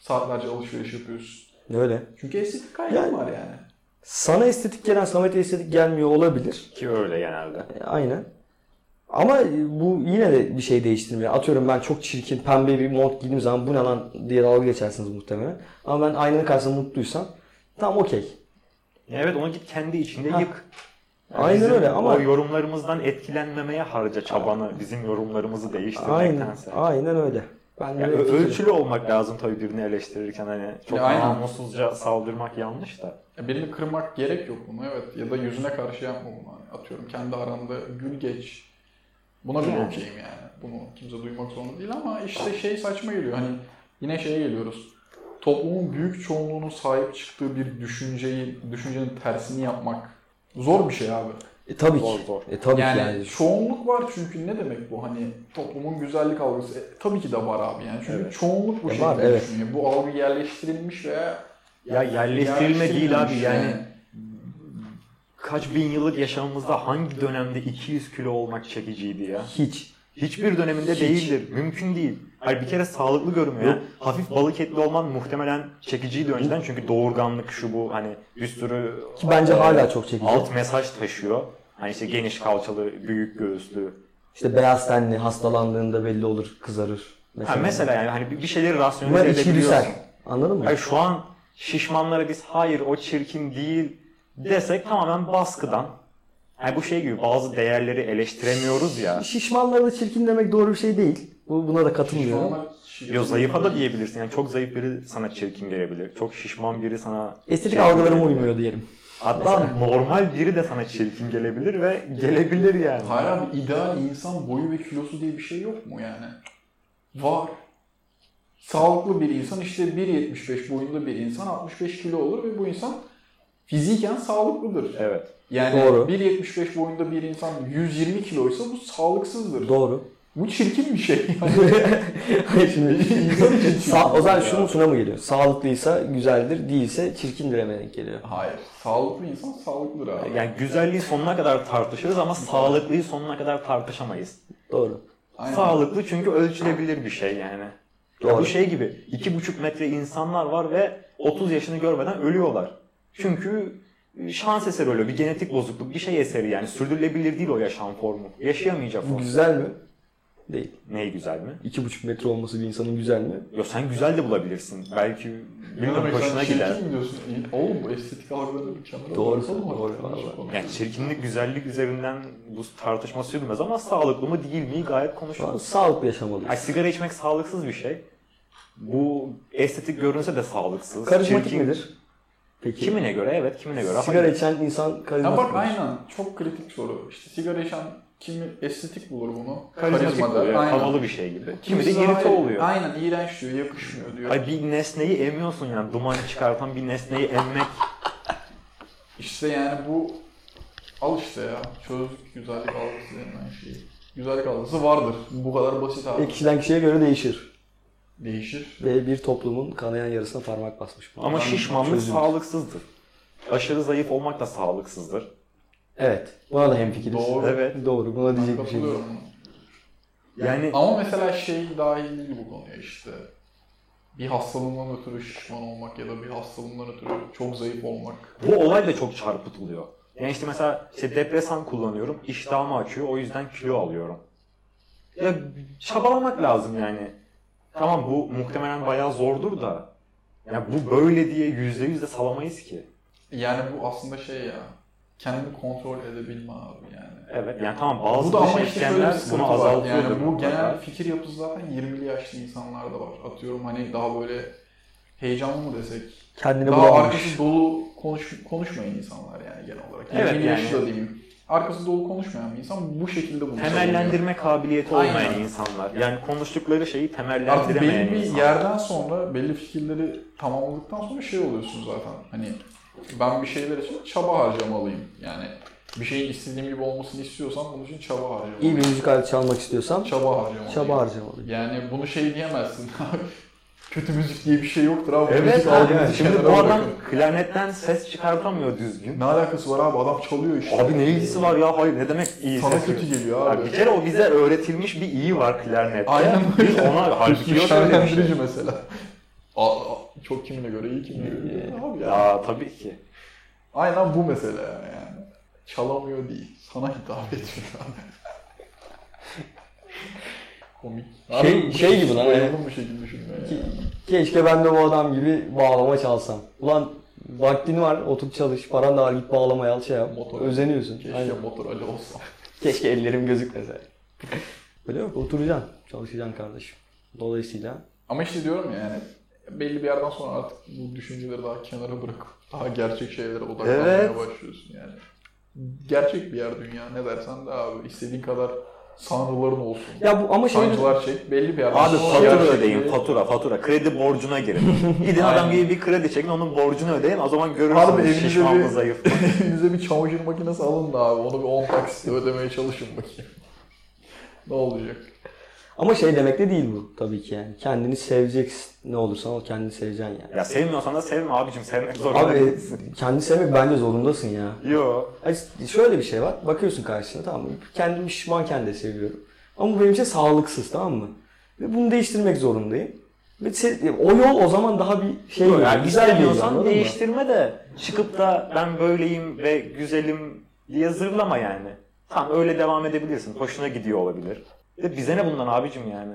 S2: saatlerce alışveriş yapıyorsun?
S4: Öyle.
S2: Çünkü estetik kaygın
S4: Yani-
S2: var yani.
S4: Sana estetik gelen Samet'e estetik gelmiyor olabilir.
S3: Ki öyle genelde.
S4: E, Aynen. Ama bu yine de bir şey değiştirmiyor. Atıyorum ben çok çirkin pembe bir mont giydiğim zaman bu ne lan diye dalga geçersiniz muhtemelen. Ama ben aynanın karşısında mutluysam tam okey.
S3: Evet onu git kendi içinde
S4: Ha.
S3: yık.
S4: Aynen
S3: bizim
S4: öyle ama-
S3: O yorumlarımızdan etkilenmemeye harca çabanı, bizim yorumlarımızı
S4: Aynen,
S3: değiştirmektense.
S4: aynen öyle. Ben de
S3: Yani
S4: öyle
S3: ölçülü
S4: fikrim.
S3: olmak lazım tabii birini eleştirirken hani çok
S2: Ya aynen.
S3: namussuzca saldırmak yanlış da.
S2: Ya birini kırmak gerek yok buna evet. Ya da yüzüne karşı yapma bunu. Hani Atıyorum kendi aranda gül geç. Buna bile
S3: Yani.
S2: okeyim yani. Bunu kimse duymak zorunda değil ama işte şey saçma geliyor. Hani yine şeye geliyoruz. Toplumun büyük çoğunluğunun sahip çıktığı bir düşünceyi, düşüncenin tersini yapmak zor bir şey abi.
S4: E, tabii ki.
S3: Zor zor.
S4: E, tabii
S2: Yani,
S4: ki yani.
S2: çoğunluk var çünkü ne demek bu hani toplumun güzellik algısı E, tabii ki de var abi yani çünkü
S3: Evet.
S2: çoğunluk bu
S4: E,
S2: şekilde
S4: var, evet.
S2: düşünüyor. Bu algı yerleştirilmiş veya
S3: Ya yerleştirilme değil abi
S2: yerleştirilmemiş
S3: yani kaç bin yıllık yaşamımızda hangi dönemde 200 kilo olmak çekiciydi ya?
S4: Hiç.
S3: Hiçbir döneminde değildir. Mümkün değil. Hayır bir kere sağlıklı görünmüyor.
S4: Yok.
S3: Hafif balık etli olman muhtemelen çekiciydi önceden çünkü doğurganlık şu bu hani bir sürü
S4: Ki bence
S3: e,
S4: hala çok çekici.
S3: alt mesaj taşıyor. Hani işte geniş kalçalı, büyük göğüslü.
S4: İşte beyaz tenli hastalandığında belli olur, kızarır.
S3: Ha mesela yani hani bir bir şeyleri
S4: Bunlar
S3: rasyonize
S4: içgüdüsel.
S3: edebiliyorsun.
S4: Anladın mı?
S3: Hayır şu an şişmanlara biz hayır o çirkin değil desek tamamen baskıdan. Hani bu şey gibi bazı değerleri eleştiremiyoruz ya.
S4: Şişmanları da çirkin demek doğru bir şey değil. Bu, buna da katılmıyorum.
S2: Şişmanlar şişman-
S3: Yo zayıfa da diyebilirsin. Yani çok zayıf biri sana çirkin gelebilir. Çok şişman biri sana...
S4: Estetik
S3: şey
S4: algılarıma
S3: gelebilir.
S4: uymuyor diyelim.
S3: Hatta normal biri de sana çirkin gelebilir ve gelebilir yani.
S2: Hayır abi ideal insan boyu ve kilosu diye bir şey yok mu yani? Var. Sağlıklı bir insan işte 1.75 boyunda bir insan 65 kilo olur ve bu insan fiziken sağlıklıdır.
S3: Evet.
S2: Yani
S4: Doğru.
S2: 1.75 boyunda bir insan 120 kiloysa bu sağlıksızdır.
S4: Doğru.
S2: bu çirkin bir şey. Yani
S4: Hayır şimdi
S2: İnsan için çirkin
S4: Sa- o zaman
S2: ya.
S4: şunun şuna mı geliyor? Sağlıklıysa güzeldir, değilse çirkindir hemen denk geliyor.
S2: Hayır. Sağlıklı insan sağlıklıdır abi.
S3: Yani güzelliği sonuna kadar tartışırız ama sağlıklıyı sonuna kadar tartışamayız.
S4: Doğru.
S2: Aynen.
S3: Sağlıklı çünkü ölçülebilir bir şey yani. Ya
S4: Doğru.
S3: bu şey gibi iki buçuk metre insanlar var ve 30 yaşını görmeden ölüyorlar. Çünkü şans eseri ölüyor. Bir genetik bozukluk, bir şey eseri yani. Sürdürülebilir değil o yaşam formu. Yaşayamayacak
S4: Bu
S3: o.
S4: güzel mi? Değil.
S3: Neyi güzel mi?
S4: İki buçuk metre olması bir insanın güzel mi?
S3: Yo sen güzel de bulabilirsin. Belki bilmiyorum
S2: Bilmiyorum,
S3: hoşuna
S2: sen
S3: gider.
S2: Çirkin diyorsun. E, Oğlum bu estetik algılarını bir kenara
S4: Doğru,
S2: bırakalım şey artık.
S4: doğru,
S2: Yanlış
S4: vallahi.
S2: konuşuyoruz.
S3: Yani çirkinlik güzellik üzerinden bu tartışma sürmez ama sağlıklı mı değil mi gayet
S4: Şu an
S3: konuşulur.
S4: sağlıklı yaşamalıyız.
S3: Ay, sigara içmek sağlıksız bir şey. Bu estetik görünse de sağlıksız.
S4: Karizmatik
S3: Çirkin-
S4: midir? Peki.
S3: Kimine göre evet, kimine göre
S4: Sigara
S3: hayır.
S4: içen insan
S2: Ya
S4: karizmatik
S2: bak
S4: midir?
S2: aynen çok kritik soru. İşte sigara içen kimi estetik bulur bunu.
S3: Karizmatik
S2: Karizma da,
S3: oluyor,
S2: aynen.
S3: havalı bir şey gibi. Kimi de
S2: Kimisi
S3: irite
S2: hayır,
S3: oluyor.
S2: Aynen iğrenç diyor, yakışmıyor diyor.
S3: Ay bir nesneyi emiyorsun yani duman çıkartan bir nesneyi emmek.
S2: İşte yani bu al işte ya çözdük güzellik algısı denilen şeyi. Güzellik algısı vardır. Bu kadar basit abi.
S4: E, kişiden kişiye göre değişir.
S2: Değişir.
S4: Ve bir toplumun kanayan yarısına parmak basmış. bu.
S3: Ama
S2: Ben
S3: şişmanlık
S4: çözüm.
S3: sağlıksızdır. Aşırı zayıf olmak da sağlıksızdır.
S4: Evet. Buna da hemfikiriz.
S2: Doğru.
S3: Evet.
S4: Doğru. Buna
S2: Ben
S4: diyecek bir şey yok.
S2: katılıyorum.
S3: Yani
S2: Ama mesela şey dahil değil bu konuya işte. Bir hastalığından ötürü şişman olmak ya da bir hastalığından ötürü çok zayıf olmak.
S3: bu olay da çok çarpıtılıyor. Yani işte mesela işte depresan kullanıyorum, iştahımı açıyor, o yüzden kilo alıyorum. Ya çabalamak lazım yani. Tamam bu muhtemelen bayağı zordur da. Ya bu böyle diye yüzde yüz de salamayız ki.
S2: Yani bu aslında şey ya. Kendini kontrol edebilme abi yani.
S3: Evet yani tamam bazı
S2: bu da ama
S3: dış
S2: işte şöyle bir şey
S3: etkenler
S2: sıkıntı
S3: bunu
S2: var.
S3: azaltıyor.
S2: Yani bu genel fikir yapısı zaten 20'li yaşlı insanlarda var. Atıyorum hani daha böyle heyecanlı mı desek?
S4: Kendini
S2: daha
S4: bulamamış.
S2: arkası dolu konuş, konuşmayan insanlar yani genel olarak.
S3: Evet,
S2: 20'li
S3: yani.
S2: yaşlı da diyeyim. arkası dolu konuşmayan bir insan bu şekilde bunu savunuyor.
S3: Temellendirme kabiliyeti olmayan
S2: Aynen.
S3: insanlar. Yani konuştukları şeyi
S2: Artık
S3: temellendiremeyen
S2: belli bir
S3: insanlar.
S2: yerden sonra, belli fikirleri tamamladıktan sonra şey oluyorsun zaten. Hani ben bir şeyler için çaba harcamalıyım. Yani bir şeyin istediğim gibi olmasını istiyorsam bunun için çaba harcamalıyım.
S4: İyi bir müzik aleti çalmak istiyorsam
S2: Çaba harcamalıyım.
S4: çaba harcamalıyım.
S2: Yani bunu şey diyemezsin. Kötü müzik diye bir şey yoktur abi.
S3: Evet
S2: müzik
S3: abi.
S2: algınızı
S3: Şimdi
S2: kenara
S3: bu adam
S2: bırakın.
S3: klarnetten ses çıkartamıyor düzgün.
S2: Ne alakası var abi? Adam çalıyor işte.
S3: Abi ne ilgisi var ya? Hayır ne demek iyi
S2: Sana
S3: ses
S2: kötü
S3: yok?
S2: geliyor
S3: Ya
S2: abi.
S3: bir kere o bize öğretilmiş bir iyi var klarnette.
S2: Aynen
S3: Biz ona halbuki yok öyle bir şey.
S2: Şenlendirici mesela. Aa, aa, çok kimine göre iyi kimine göre değil abi ya.
S3: Ya tabii ki.
S2: Aynen bu mesele yani. Çalamıyor değil. Sana hitap etmiyor. Komik.
S4: Şey-
S2: bu
S4: şey gibi lan,
S2: bayıldım
S4: evet.
S2: bu şekilde düşünmeye.
S4: Ki-
S2: yani.
S4: Keşke ben de bu adam gibi bağlama çalsam. Ulan vaktin var otur çalış paran da var git bağlamaya al şey yap.
S2: Motor.
S4: Özeniyorsun.
S2: Keşke
S4: Aynen.
S2: motor Ali olsa.
S4: Keşke ellerim gözükmese. Öyle yok oturacaksın çalışacaksın kardeşim. Dolayısıyla
S2: Ama işte diyorum ya yani belli bir yerden sonra artık bu düşünceleri daha kenara bırakıp daha gerçek şeylere odaklanmaya
S3: Evet.
S2: başlıyorsun yani. Gerçek bir yer dünya ne dersen de abi istediğin kadar sanrıların olsun.
S4: ya bu ama şey
S2: Sancılar çek belli bir yerden
S3: Abi
S2: sonra
S3: fatura
S2: gerçekliği-
S3: ödeyin, fatura, fatura. Kredi borcuna girin. Gidin adam gibi bir kredi çekin, onun borcunu ödeyin. O zaman
S2: Harbi
S3: görürsünüz
S2: evinize
S3: şişman
S2: bir-
S3: mı zayıf. mı.
S2: Elinize bir çamaşır makinesi alın da abi onu bir 10 taksitle ödemeye çalışın bakayım. ne olacak?
S4: ama şey demek de değil bu tabii ki yani. Kendini seveceksin ne olursa ol kendini seveceksin yani.
S3: Ya sevmiyorsan da sevme abicim, sevmek zorunda
S4: Abi
S3: değilsin.
S4: kendini sevmek bence zorundasın ya.
S3: Yo.
S4: Ay, Şöyle bir şey var. Bakıyorsun karşısına tamam mı? Kendimi şişmanken de seviyorum. Ama bu benim için sağlıksız tamam mı? Ve bunu değiştirmek zorundayım. Ve se- o yol o zaman daha bir şey
S3: Yo,
S4: geliyor,
S3: yani
S4: güzel geliyor
S3: istemiyorsan
S4: anladın mı?
S3: değiştirme de çıkıp da ben böyleyim ve güzelim diye zırlama yani. Tamam öyle devam edebilirsin. Hoşuna gidiyor olabilir. De bize ne bundan abicim yani?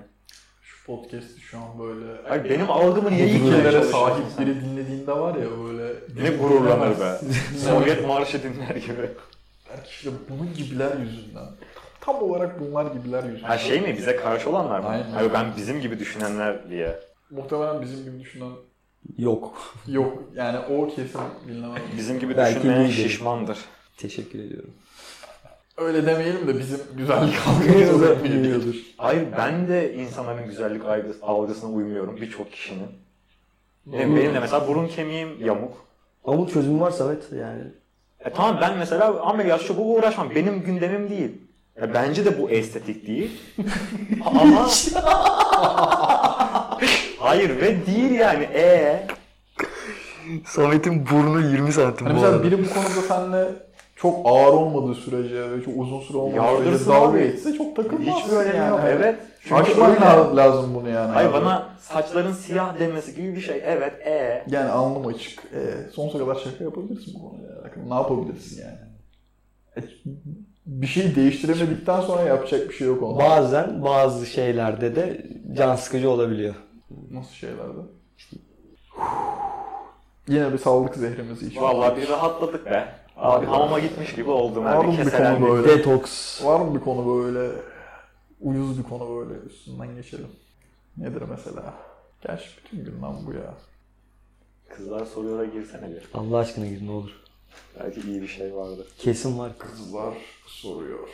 S2: Şu podcast'i şu an böyle...
S3: Ay benim algımı niye
S2: fikirlere
S3: yıkıyorsun?
S2: sahip biri dinlediğinde var ya böyle...
S3: Ne gururlanır be. Sovyet marşı dinler gibi.
S2: Belki işte bunun gibiler yüzünden. Tam olarak bunlar gibiler yüzünden.
S3: Ha şey mi bize karşı olanlar mı?
S2: Aynen.
S3: Hayır ben bizim gibi düşünenler diye.
S2: Muhtemelen bizim gibi düşünen
S4: Yok.
S2: yok. Yani o kesin dinlemez.
S3: Bizim gibi
S4: Belki
S3: düşünmeyen
S4: iyidir.
S3: şişmandır.
S4: Teşekkür ediyorum.
S2: Öyle demeyelim de bizim güzellik algımız olabilir.
S3: Hayır ben de insanların güzellik algı- algısına uymuyorum birçok kişinin. Ne bileyim,
S2: Doğru.
S3: benim de mesela burun kemiğim yamuk.
S4: Ama bunun çözümü var Samet yani.
S3: E tamam ben mesela ameliyat şu bu uğraşmam. Benim gündemim değil. Ya bence de bu estetik değil. Ama... Hayır ve değil yani. E
S4: Samet'in burnu 20 santim
S2: Hani mesela biri bu konuda seninle çok ağır olmadığı sürece ve çok uzun süre olmadığı sürece
S3: Yardırsın
S2: dalga
S3: abi.
S2: geçse çok takılmazsın
S3: hiçbir önemi
S2: yani.
S3: yok. Evet. Çünkü
S2: Aşman
S3: öyle.
S2: la- lazım bunu yani.
S3: Hayır
S2: abi.
S3: bana saçların siyah demesi gibi bir şey. Evet e.
S2: Yani alnım açık. Ee, sonsuza kadar şaka yapabilirsin bu konuyla alakalı. Ne yapabilirsin yani? E, Bir şeyi değiştiremedikten sonra yapacak bir şey yok onda.
S4: Bazen bazı şeylerde de can sıkıcı olabiliyor.
S2: Nasıl şeylerde? Yine bir sağlık zehrimizi içiyor.
S3: Vallahi bir rahatladık be. Abi hamama gitmiş gibi oldum
S2: Var mı
S3: abi.
S2: bir konu
S3: Keselendik.
S2: böyle? Öyle.
S4: Detoks.
S2: Var mı bir konu böyle uyuz bir konu böyle üstünden geçelim? Nedir mesela? Gerçi bütün gün lan bu ya.
S3: Kızlar soruyor'a girsene bir.
S4: Allah aşkına gir ne olur.
S3: Belki iyi bir şey vardır.
S4: Kesin var.
S2: Kızlar soruyor.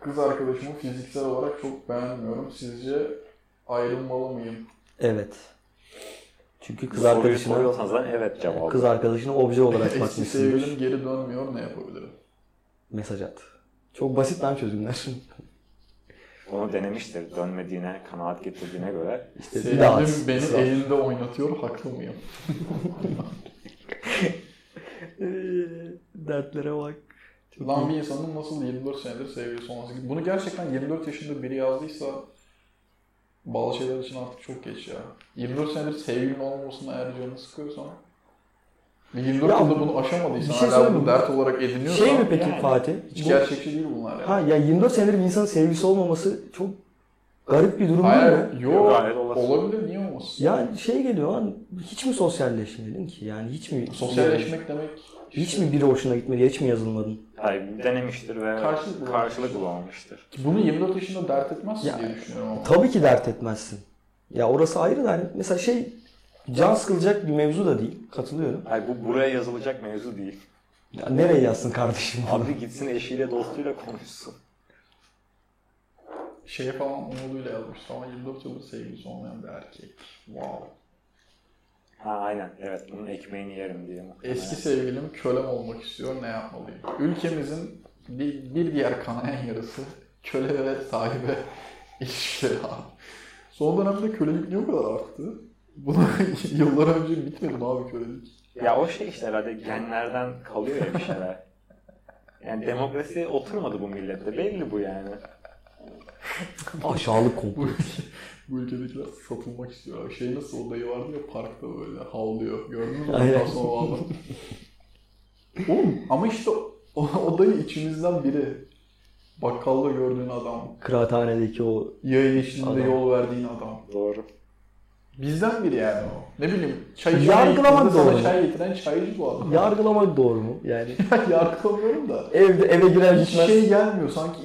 S2: Kız arkadaşımı fiziksel olarak çok beğenmiyorum. Sizce ayrılmalı mıyım?
S4: Evet. Çünkü kız
S3: Soruyu
S4: arkadaşına
S3: soruyorsan zaten evet cevabı.
S4: kız arkadaşına obje olarak
S2: Eski
S4: bakmışsındır.
S2: sevgilim geri dönmüyor ne yapabilirim?
S4: mesaj at. Çok basit lan çözümler.
S3: Onu denemiştir. Dönmediğine, kanaat getirdiğine göre.
S4: İşte bir daha at.
S2: Sevgilim beni
S4: Sıra.
S2: elinde oynatıyor haklı mıyım?
S4: Dertlere bak. Çok
S2: Lan
S4: iyi.
S2: bir insanın nasıl 24 senedir sevgilisi olması gibi. Bunu gerçekten 24 yaşında biri yazdıysa bazı şeyler için artık çok geç ya. 24 senedir sevgilin olmamasına eğer canını sıkıyorsan ve 24
S4: Ya
S2: yılda
S4: bu-
S2: bunu aşamadıysan
S4: bir şey
S2: hala
S4: söyleyeyim
S2: bunu
S4: mi?
S2: dert olarak ediniyorsan
S4: Şey mi peki
S3: yani.
S4: Fatih?
S2: hiç
S4: Bu-
S2: gerçekçi değil bunlar yani.
S4: ha ya 24 senedir bir insanın sevgisi olmaması çok garip bir durum değil mi?
S2: Hayır, yok.
S3: Gayet olası.
S2: Olabilir, niye olmasın?
S4: Ya şey geliyor lan hiç mi sosyalleşmedin ki? Yani hiç mi
S2: Sosyalleşmek demek
S4: hiç mi biri hoşuna gitmedi? Hiç mi yazılmadın?
S3: Hayır, denemiştir ve
S2: Karşılık bulamamıştır.
S3: karşılık, bulamamıştır.
S2: bunu 24 yaşında dert etmezsin
S4: Ya-
S2: diye düşünüyorum ama.
S4: Tabii ki dert etmezsin. Ya orası ayrı da hani mesela şey can sıkılacak bir mevzu da değil. Katılıyorum.
S3: Hayır bu buraya yazılacak mevzu değil.
S4: Ya nereye yazsın kardeşim?
S3: Abi gitsin eşiyle dostuyla konuşsun.
S2: Şey falan umuduyla yazmış. Ama 24 yıldır sevgilisi olmayan bir erkek. Wow.
S3: Ha aynen evet bunun ekmeğini yerim diye. muhtemelen.
S2: Eski sevgilim kölem olmak istiyor. Ne yapmalıyım? Ülkemizin bir, bir diğer kanayan yarısı köle ve sahibe ilişkileri abi. Son dönemde kölelik niye o kadar arttı? Buna yıllar önce bitmedi mi abi kölelik?
S3: Ya o şey işte herhalde genlerden kalıyor ya bir şeyler. Yani demokrasi oturmadı bu millette belli bu yani.
S4: Aşağılık
S2: Bu,
S4: komplo.
S2: ülke- bu ülkedekiler satılmak istiyor abi. Şey nasıl o dayı vardı ya parkta böyle havlıyor. Gördünüz mü?
S4: Aynen.
S2: Ondan sonra o adam. Oğlum ama işte o, o dayı içimizden biri. Bakkalda gördüğün adam.
S4: Kıraathanedeki o
S2: Yaya geçtiğinde
S4: Adam.
S2: yol verdiğin adam.
S3: Doğru.
S2: Bizden biri yani o. Ne bileyim çay
S4: Yargılamak
S2: içmeye gittiğinde
S4: doğru.
S2: Sana çay getiren çaycı bu adam.
S4: yargılamak doğru mu? Yani
S2: Yargılamıyorum da.
S4: evde eve girer
S2: Hiç
S4: gitmez
S2: şey gelmiyor sanki.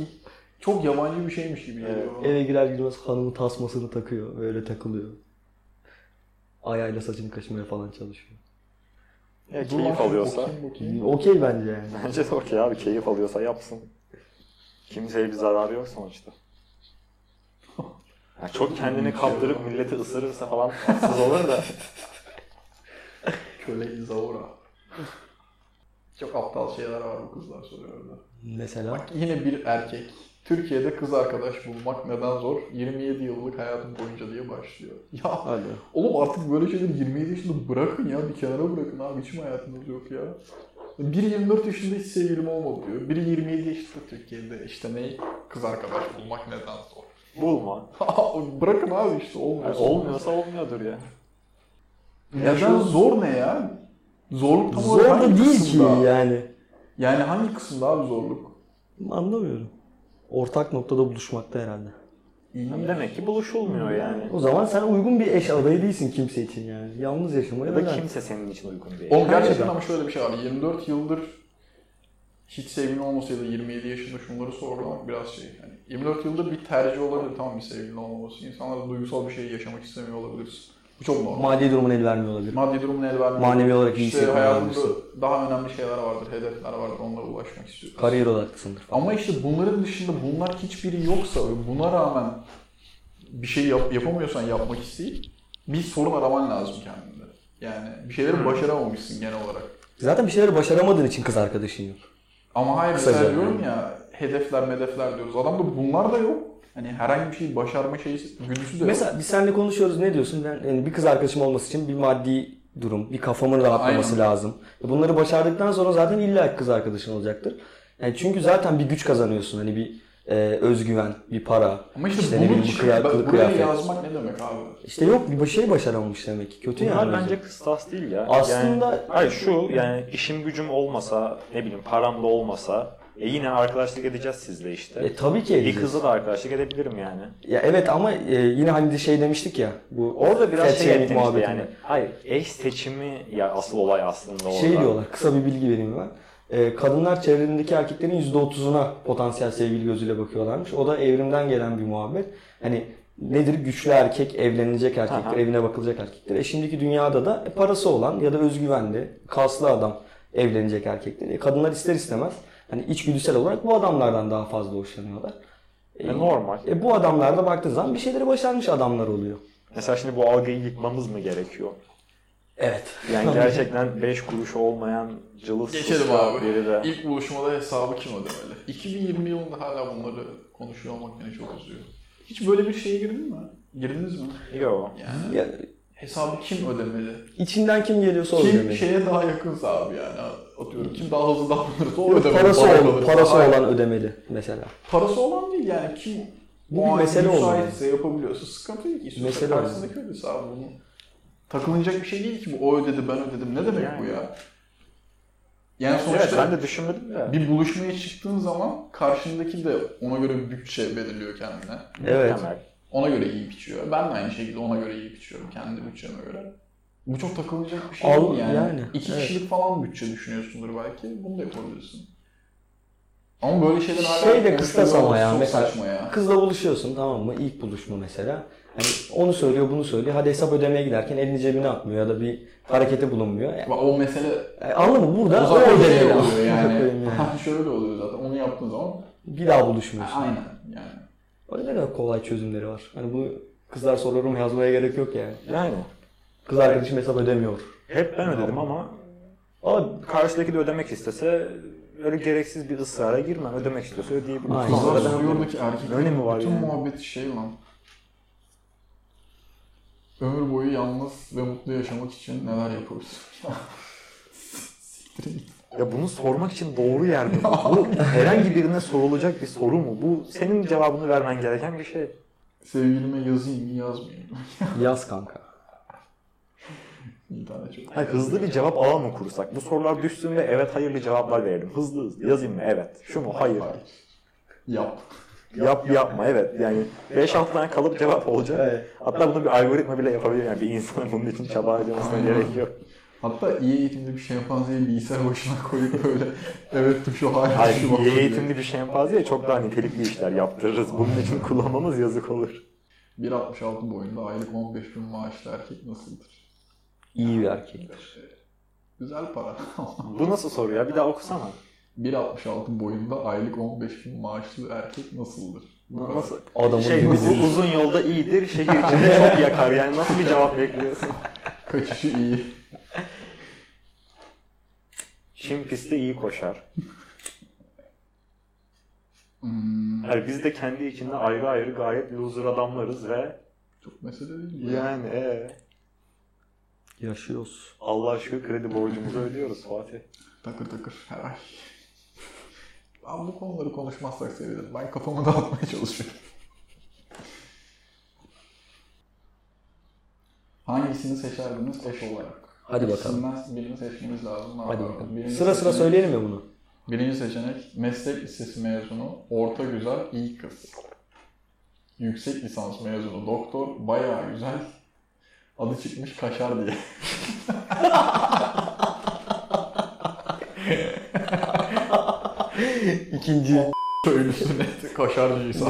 S2: Çok yabancı bir şeymiş gibi geliyor. bana.
S4: eve girer girmez hanımın tasmasını takıyor. Böyle takılıyor. Ayağıyla saçını kaşımaya falan çalışıyor.
S3: Ya
S2: Dur lan
S3: keyif
S2: şunu
S3: alıyorsa.
S2: bakayım, bakayım.
S4: Okey bence yani.
S3: Bence de okey abi keyif alıyorsa yapsın. Kimseye bir zararı yok sonuçta. Ya çok kendini kaptırıp milleti ısırırsa falan tatsız olur da.
S2: Köle İzavura. Çok aptal şeyler var bu kızlar soruyor orada.
S4: Mesela
S2: Bak yine bir erkek. Türkiye'de kız arkadaş bulmak neden zor? 27 yıllık hayatım boyunca diye başlıyor. Ya
S4: Hadi.
S2: Oğlum artık böyle şeyleri 27 yaşında bırakın ya. Bir kenara bırakın abi. Hiç mi hayatınız yok ya? Biri 24 yaşında hiç sevgilim olmadı diyor. Biri 27 yaşında Türkiye'de işte ne? Kız arkadaş bulmak neden zor.
S3: Bulma.
S2: bırakın abi işte
S3: Yani
S2: olmuyor.
S3: olmuyorsa olmuyordur ya.
S2: Neden zor ne ya? Zorluk tam
S4: Zor
S2: olarak
S4: da
S2: hangi
S4: değil ki
S2: kısımda?
S4: yani.
S2: Yani hangi kısımda abi zorluk?
S4: Anlamıyorum. Ortak noktada buluşmakta herhalde.
S2: İyi.
S3: Demek ki buluşulmuyor yani.
S4: O zaman sen uygun bir eş adayı değilsin kimse için yani. Yalnız yaşamayı
S3: Ya da
S4: öğren.
S3: kimse senin için uygun değil.
S2: Oğlum gerçekten
S4: Aynen.
S2: ama şöyle bir şey abi. 24 yıldır hiç sevgilin olmasaydı 27 yaşında şunları sorgulamak biraz şey. Yani 24 yıldır bir tercih olabilir tamam bir sevgilin olmaması. İnsanlar duygusal bir şey yaşamak istemiyor olabilirmiş. Bu çok normal.
S4: Maddi durumun el vermiyor olabilir.
S2: Maddi durumun el vermiyor.
S4: Manevi olarak
S2: işte
S4: iyi hissetmiyor
S2: hayatında
S4: olabilirsin.
S2: daha önemli şeyler vardır, hedefler vardır. Onlara ulaşmak istiyor.
S4: Kariyer odaklısındır falan.
S2: Ama işte bunların dışında bunlar hiçbiri yoksa ve buna rağmen bir şey yap- yapamıyorsan yapmak isteyip bir sorun araman lazım kendinde. Yani bir
S4: Hmm.
S2: şeyleri başaramamışsın genel olarak.
S4: Zaten bir şeyleri başaramadığın için kız arkadaşın yok.
S2: Ama hayır
S4: Kısaca
S2: mesela
S4: yani.
S2: diyorum ya hedefler medefler diyoruz. Adamda bunlar da yok. Hani herhangi bir şey başarma şeyi güdüsü de yok.
S4: Mesela biz seninle konuşuyoruz ne diyorsun? Ben yani bir kız arkadaşım olması için bir maddi durum, bir kafamın rahatlaması
S2: Aynen.
S4: lazım. E Bunları başardıktan sonra zaten illa kız arkadaşın olacaktır. Yani çünkü zaten bir güç kazanıyorsun. Hani bir e, özgüven, bir para.
S2: Ama işte,
S4: işte ne
S2: bunun
S4: bileyim,
S2: için
S4: bir kıya-
S2: bak
S4: kılık
S2: buraya
S4: kıyafet.
S2: yazmak ne demek abi?
S4: İşte yok bir şey başaramamış demek ki. Kötü
S3: Bunlar
S4: yani.
S3: bence kıstas değil ya.
S4: Aslında-
S3: Yani, hayır şu yani işim gücüm olmasa ne bileyim param da olmasa e yine arkadaşlık edeceğiz sizle işte.
S4: E, tabii ki
S3: Bir
S4: edeceğiz.
S3: kızla da arkadaşlık edebilirim yani.
S4: Ya evet ama e, yine hani de şey demiştik ya. Bu
S3: Orada biraz
S4: fat
S3: şey
S4: shaming
S3: ettim işte
S4: muhabbetinde.
S3: yani. Hayır eş seçimi ya asıl olay aslında orada.
S4: Şey diyorlar, kısa bir bilgi vereyim ben. Ee, kadınlar çevrelerindeki erkeklerin %30'una potansiyel sevgili gözüyle bakıyorlarmış. O da evrimden gelen bir muhabbet. Hani nedir? Güçlü erkek, evlenecek erkektir,
S3: Aha.
S4: evine bakılacak erkektir. E şimdiki dünyada da e, parası olan ya da özgüvenli, kaslı adam evlenecek erkektir. E kadınlar ister istemez hani içgüdüsel olarak bu adamlardan daha fazla hoşlanıyorlar. E,
S3: E, normal.
S4: e, bu adamlarda baktığın zaman bir şeyleri başarmış adamlar oluyor.
S3: Mesela şimdi bu algıyı yıkmamız mı gerekiyor?
S4: Evet.
S3: Yani gerçekten 5 kuruşu olmayan cılız
S2: Geçelim
S3: suska
S2: abi.
S3: biri de.
S2: İlk buluşmada hesabı kim ödemeli? 2020 yılında hala bunları konuşuyor olmak beni çok üzüyor. Hiç böyle bir şeye girdin mi? Girdiniz mi?
S3: Yo.
S2: Yani
S4: Ya,
S2: hesabı kim ödemeli?
S4: içinden kim geliyorsa o
S2: Kim şey
S4: ödemeli.
S2: şeye daha yakınsa abi yani atıyorum kim daha hızlı davranırsa o ödemeli.
S4: Parası,
S2: Bana
S4: olan,
S2: kalırsa-
S4: parası
S2: Hayır,
S4: olan ödemeli mesela.
S2: Parası olan değil yani kim
S4: Bu
S2: o
S4: bir
S2: an
S4: mesele olmalı.
S2: müsaitse yapabiliyorsa sıkıntı yok. İstiyorsa
S4: Mesele
S2: karşısındaki ödesin abi bunu. Takılınacak bir şey değil ki bu o ödedi ben ödedim ne demek
S3: Yani.
S2: bu ya? Yani
S3: Evet
S2: sonuçta
S3: ben de düşünmedim de.
S2: bir buluşmaya çıktığın zaman karşındaki de ona göre bir bütçe belirliyor kendine.
S4: Evet.
S3: Temel.
S2: Ona göre iyi biçiyor. Ben de aynı şekilde ona göre iyi biçiyorum kendi bütçeme göre. Bu çok takılacak bir şey
S4: Al-
S2: değil yani.
S4: yani,
S2: İki
S4: evet.
S2: kişilik falan bütçe düşünüyorsundur belki. Bunu da yapabilirsin. Ama böyle şeyler hala
S4: Şey de
S2: konuşuluyor
S4: kıstas ama
S2: olması
S4: ya
S2: çok
S4: mesela
S2: saçma ya.
S4: kızla buluşuyorsun tamam mı? İlk buluşma mesela. Hani onu söylüyor, bunu söylüyor. Hadi hesap ödemeye giderken elini cebine atmıyor ya da bir harekete bulunmuyor. E,
S2: O mesele
S4: e, anladın mı?
S2: o
S4: Burada
S2: zaman
S4: o
S2: öyle
S4: ödemeyle-
S2: şey oluyor yani.
S4: Öyle.
S2: Şöyle oluyor zaten. Onu yaptığın zaman
S4: bir daha buluşmuyorsun.
S2: aynen yani.
S4: Öyle ne kadar kolay çözümleri var. Hani bunu kızlar soruyorum yazmaya gerek yok yani.
S3: Yani.
S4: Kız arkadaşım hesap ödemiyor.
S3: Hep ben ödedim ama
S4: Ama
S3: karşıdaki de ödemek istese öyle gereksiz bir ısrara girmem. Ödemek istiyorsa ödeyebilir.
S4: Aynen.
S3: Kızlar
S2: Kızlar
S4: Aynen.
S3: ben
S2: soruyordu
S3: ödedim.
S2: ki erkek.
S3: Öyle mi var
S2: Bütün
S3: yani?
S2: muhabbeti şey lan. Ömür boyu yalnız ve mutlu yaşamak için neler yapıyoruz?
S3: Ya bunu sormak için doğru yer mi? Bu herhangi birine sorulacak bir soru mu? Bu senin cevabını vermen gereken bir şey.
S2: Sevgilime yazayım mı yazmayayım mı?
S4: yaz kanka.
S2: Bir tane çok.
S3: Ha, hızlı bir cevap alan mı kursak? Bu sorular düşsün ve evet hayırlı cevaplar verelim. Hızlı hızlı yazayım mı? Evet. Şu mu? Hayır.
S2: Yap.
S3: Yap yapma evet. Yani 5-6 tane kalıp cevap olacak.
S4: Evet.
S3: Hatta bunu bir algoritma bile yapabilir. Yani bir insanın bunun için çaba harcamasına
S2: Aynen.
S3: gerek yok.
S2: Hatta iyi eğitimli bir şempanzeyi bilgisayar başına koyup böyle evet tuşu hayır
S3: Hayır,
S2: tuşu
S3: iyi
S2: basıyor.
S3: eğitimli bir şempanzeye çok daha nitelikli işler yaptırırız. Bunun için kullanmamız yazık olur.
S2: 1.66 boyunda aylık 15 bin maaşlı erkek nasıldır?
S4: İyi bir erkektir.
S2: Güzel para.
S3: Bu nasıl soru ya? Bir daha okusana.
S2: 1.66 boyunda aylık 15 bin maaşlı erkek nasıldır? Bu kadar.
S3: Nasıl?
S4: Adamın
S3: Şey,
S4: gibi
S3: uz- uzun yolda iyidir, şehir içinde çok yakar. Yani nasıl bir cevap bekliyorsun?
S2: Kaçışı iyi.
S3: Çim pistte iyi koşar.
S2: Hmm,
S3: Yani biz de kendi içinde ayrı ayrı gayet loser adamlarız ve
S2: çok mesele değil. Ya.
S3: yani ee,
S4: Yaşıyoruz.
S3: Allah şükür kredi borcumuzu ödüyoruz Fatih.
S2: Takır takır her ay. Ben bu konuları konuşmazsak sevinirim. Ben kafamı dağıtmaya çalışıyorum. Hangisini seçerdiniz eş olarak?
S4: Hadi bakalım.
S2: İkisinden birini seçmemiz lazım. Ne
S4: Hadi
S2: yapalım?
S4: bakalım.
S2: Birinci
S4: Sıra sıra
S2: seçenek-
S4: söyleyelim mi bunu?
S2: Birinci seçenek meslek lisesi mezunu, orta güzel, iyi kız. Yüksek lisans mezunu, doktor, bayağı güzel. Adı çıkmış kaşar diye.
S4: İkinci
S2: Köylüsü net kaşarcıysa.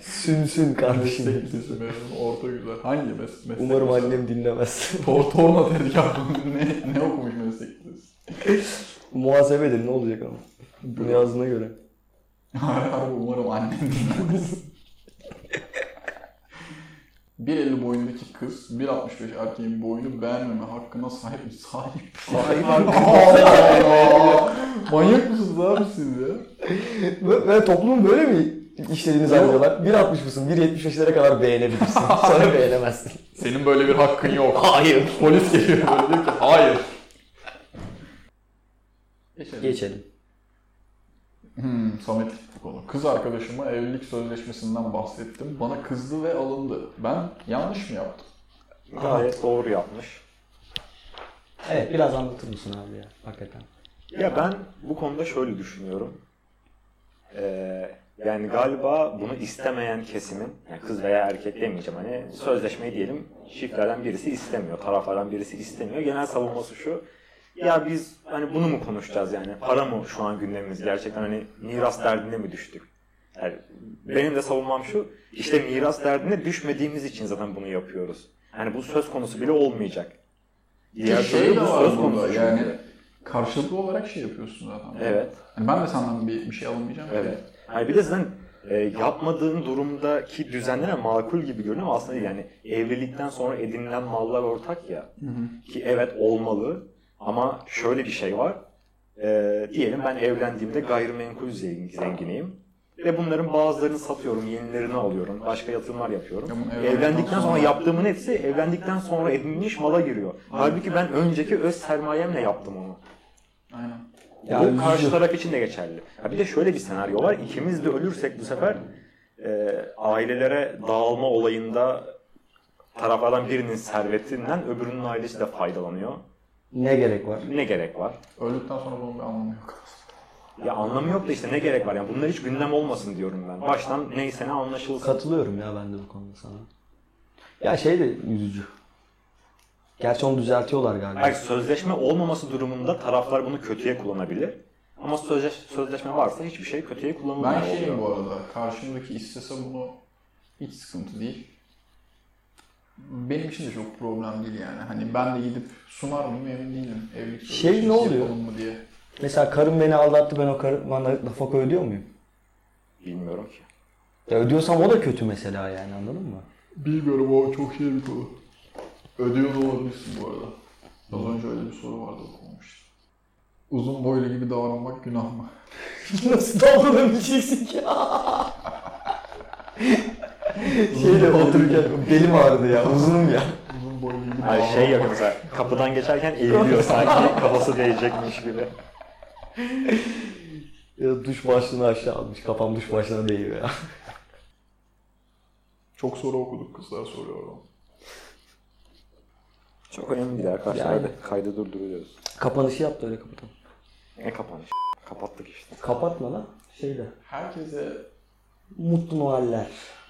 S4: sünsün
S2: Meslek
S4: kardeşim.
S2: lisesi mezunu, orta güzel. Hangi mes meslek?
S4: Umarım
S2: lisesi?
S4: annem dinlemez.
S2: Tor torna tezgahı ne, ne okumuş meslek lisesi?
S4: Muhasebedir ne olacak ama. Bunu yazdığına göre.
S2: Harbi Umarım annen dinlemez. 1.50 boyundaki kız, 1.65 erkeğin boyunu beğenmeme hakkına sahip mi? Sahip. Sahip. Manyak mısınız abi siz ya?
S4: Ve, ve toplumun böyle mi işlediğini zannediyorlar? 1.60 mısın? 1.75'lere kadar beğenebilirsin. Sonra beğenemezsin.
S2: Senin böyle bir hakkın yok.
S4: Hayır.
S2: Polis geliyor böyle diyor ki hayır. Geçelim.
S4: Geçelim.
S2: Hmm, sametlik bu konu. Kız arkadaşıma evlilik sözleşmesinden bahsettim. Bana kızdı ve alındı. Ben yanlış mı yaptım?
S3: Gayet doğru yapmış.
S4: Evet biraz anlatır mısın abi ya? Hakikaten.
S3: Ya ben bu konuda şöyle düşünüyorum. Ee, yani galiba bunu istemeyen kesimin, yani kız veya erkek demeyeceğim hani sözleşmeyi diyelim şifreden birisi istemiyor, taraflardan birisi istemiyor. Genel savunması şu, ya biz hani bunu mu konuşacağız yani para mı şu an gündemimiz gerçekten hani miras derdine mi düştük? Yani benim de savunmam şu, işte miras derdine düşmediğimiz için zaten bunu yapıyoruz. Yani bu söz konusu bile olmayacak. Diğer türlü
S2: şey de
S3: bu
S2: var burada
S3: çünkü.
S2: yani. Karşılıklı olarak şey yapıyorsun zaten.
S3: Evet.
S2: Yani ben de senden bir, bir şey alamayacağım. ki.
S3: Evet. Yani bir de zaten e, yapmadığın durumdaki düzenlere makul gibi görünüyor ama aslında yani evlilikten sonra edinilen mallar ortak ya.
S2: Hı hı.
S3: Ki evet olmalı ama şöyle bir şey var. E, diyelim ben evlendiğimde gayrimenkul zengin- zenginiyim. Ve bunların bazılarını satıyorum, yenilerini alıyorum, başka yatırımlar yapıyorum.
S2: Ya bunu evlendikten
S3: Evlendikten sonra
S2: sonra-
S3: yaptığımın hepsi evlendikten sonra edinilmiş mala giriyor. Halbuki ben önceki öz sermayemle yaptım onu.
S2: Aynen.
S4: Ya
S3: Bu
S4: üzücü.
S3: karşı taraf için de geçerli. Ha bir de şöyle bir senaryo var. İkimiz de ölürsek bu sefer e, ailelere dağılma olayında taraflardan birinin servetinden öbürünün ailesi de faydalanıyor.
S4: Ne gerek var?
S3: Ne gerek var?
S2: Öldükten sonra bunun bir anlamı yok.
S3: Ya anlamı yok da işte ne gerek var? Yani bunlar hiç gündem olmasın diyorum ben. Baştan neyse ne anlaşılsın.
S4: Katılıyorum ya ben de bu konuda sana. Ya şey de üzücü. Gerçi onu düzeltiyorlar galiba.
S3: Hayır, sözleşme olmaması durumunda taraflar bunu kötüye kullanabilir. Ama sözleş- sözleşme varsa hiçbir şey kötüye kullanılmıyor.
S2: Ben şeyim
S3: oluyor.
S2: bu arada. Karşımdaki istese bunu Hiç sıkıntı değil. Benim için de çok problem değil yani. Hani ben de gidip sunar mıyım emin değilim. Evlilik
S4: Şey
S2: sözleşmesi
S4: ne oluyor?
S2: yapalım Mı diye.
S4: Mesela karım beni aldattı ben o karı bana nafaka ödüyor muyum?
S3: Bilmiyorum ki.
S4: Ya ödüyorsam o da kötü mesela yani anladın mı?
S2: Bilmiyorum o çok şey bir konu. Ödüyor da olabilirsin bu arada. Az önce öyle bir soru vardı okumuştum. Uzun boylu gibi davranmak günah mı?
S4: Nasıl davranabileceksin ki? Şeyle otururken belim ağrıdı ya uzunum ya.
S2: Uzun boylu gibi
S3: Ay şey yok mesela kapıdan geçerken eğiliyor sanki kafası değecekmiş gibi.
S4: ya duş başlığını aşağı almış kafam duş başlığına değiyor ya.
S2: Çok soru okuduk kızlar soruyor oradan.
S3: Çok önemli değil arkadaşlar.
S4: Yani.
S3: Hadi Kaydı durduruyoruz.
S4: Kapanışı yaptı öyle kapatalım.
S3: Ne kapanış? Kapattık işte.
S4: Kapatma lan şeyle.
S2: Herkese
S4: Mutlu Noeller.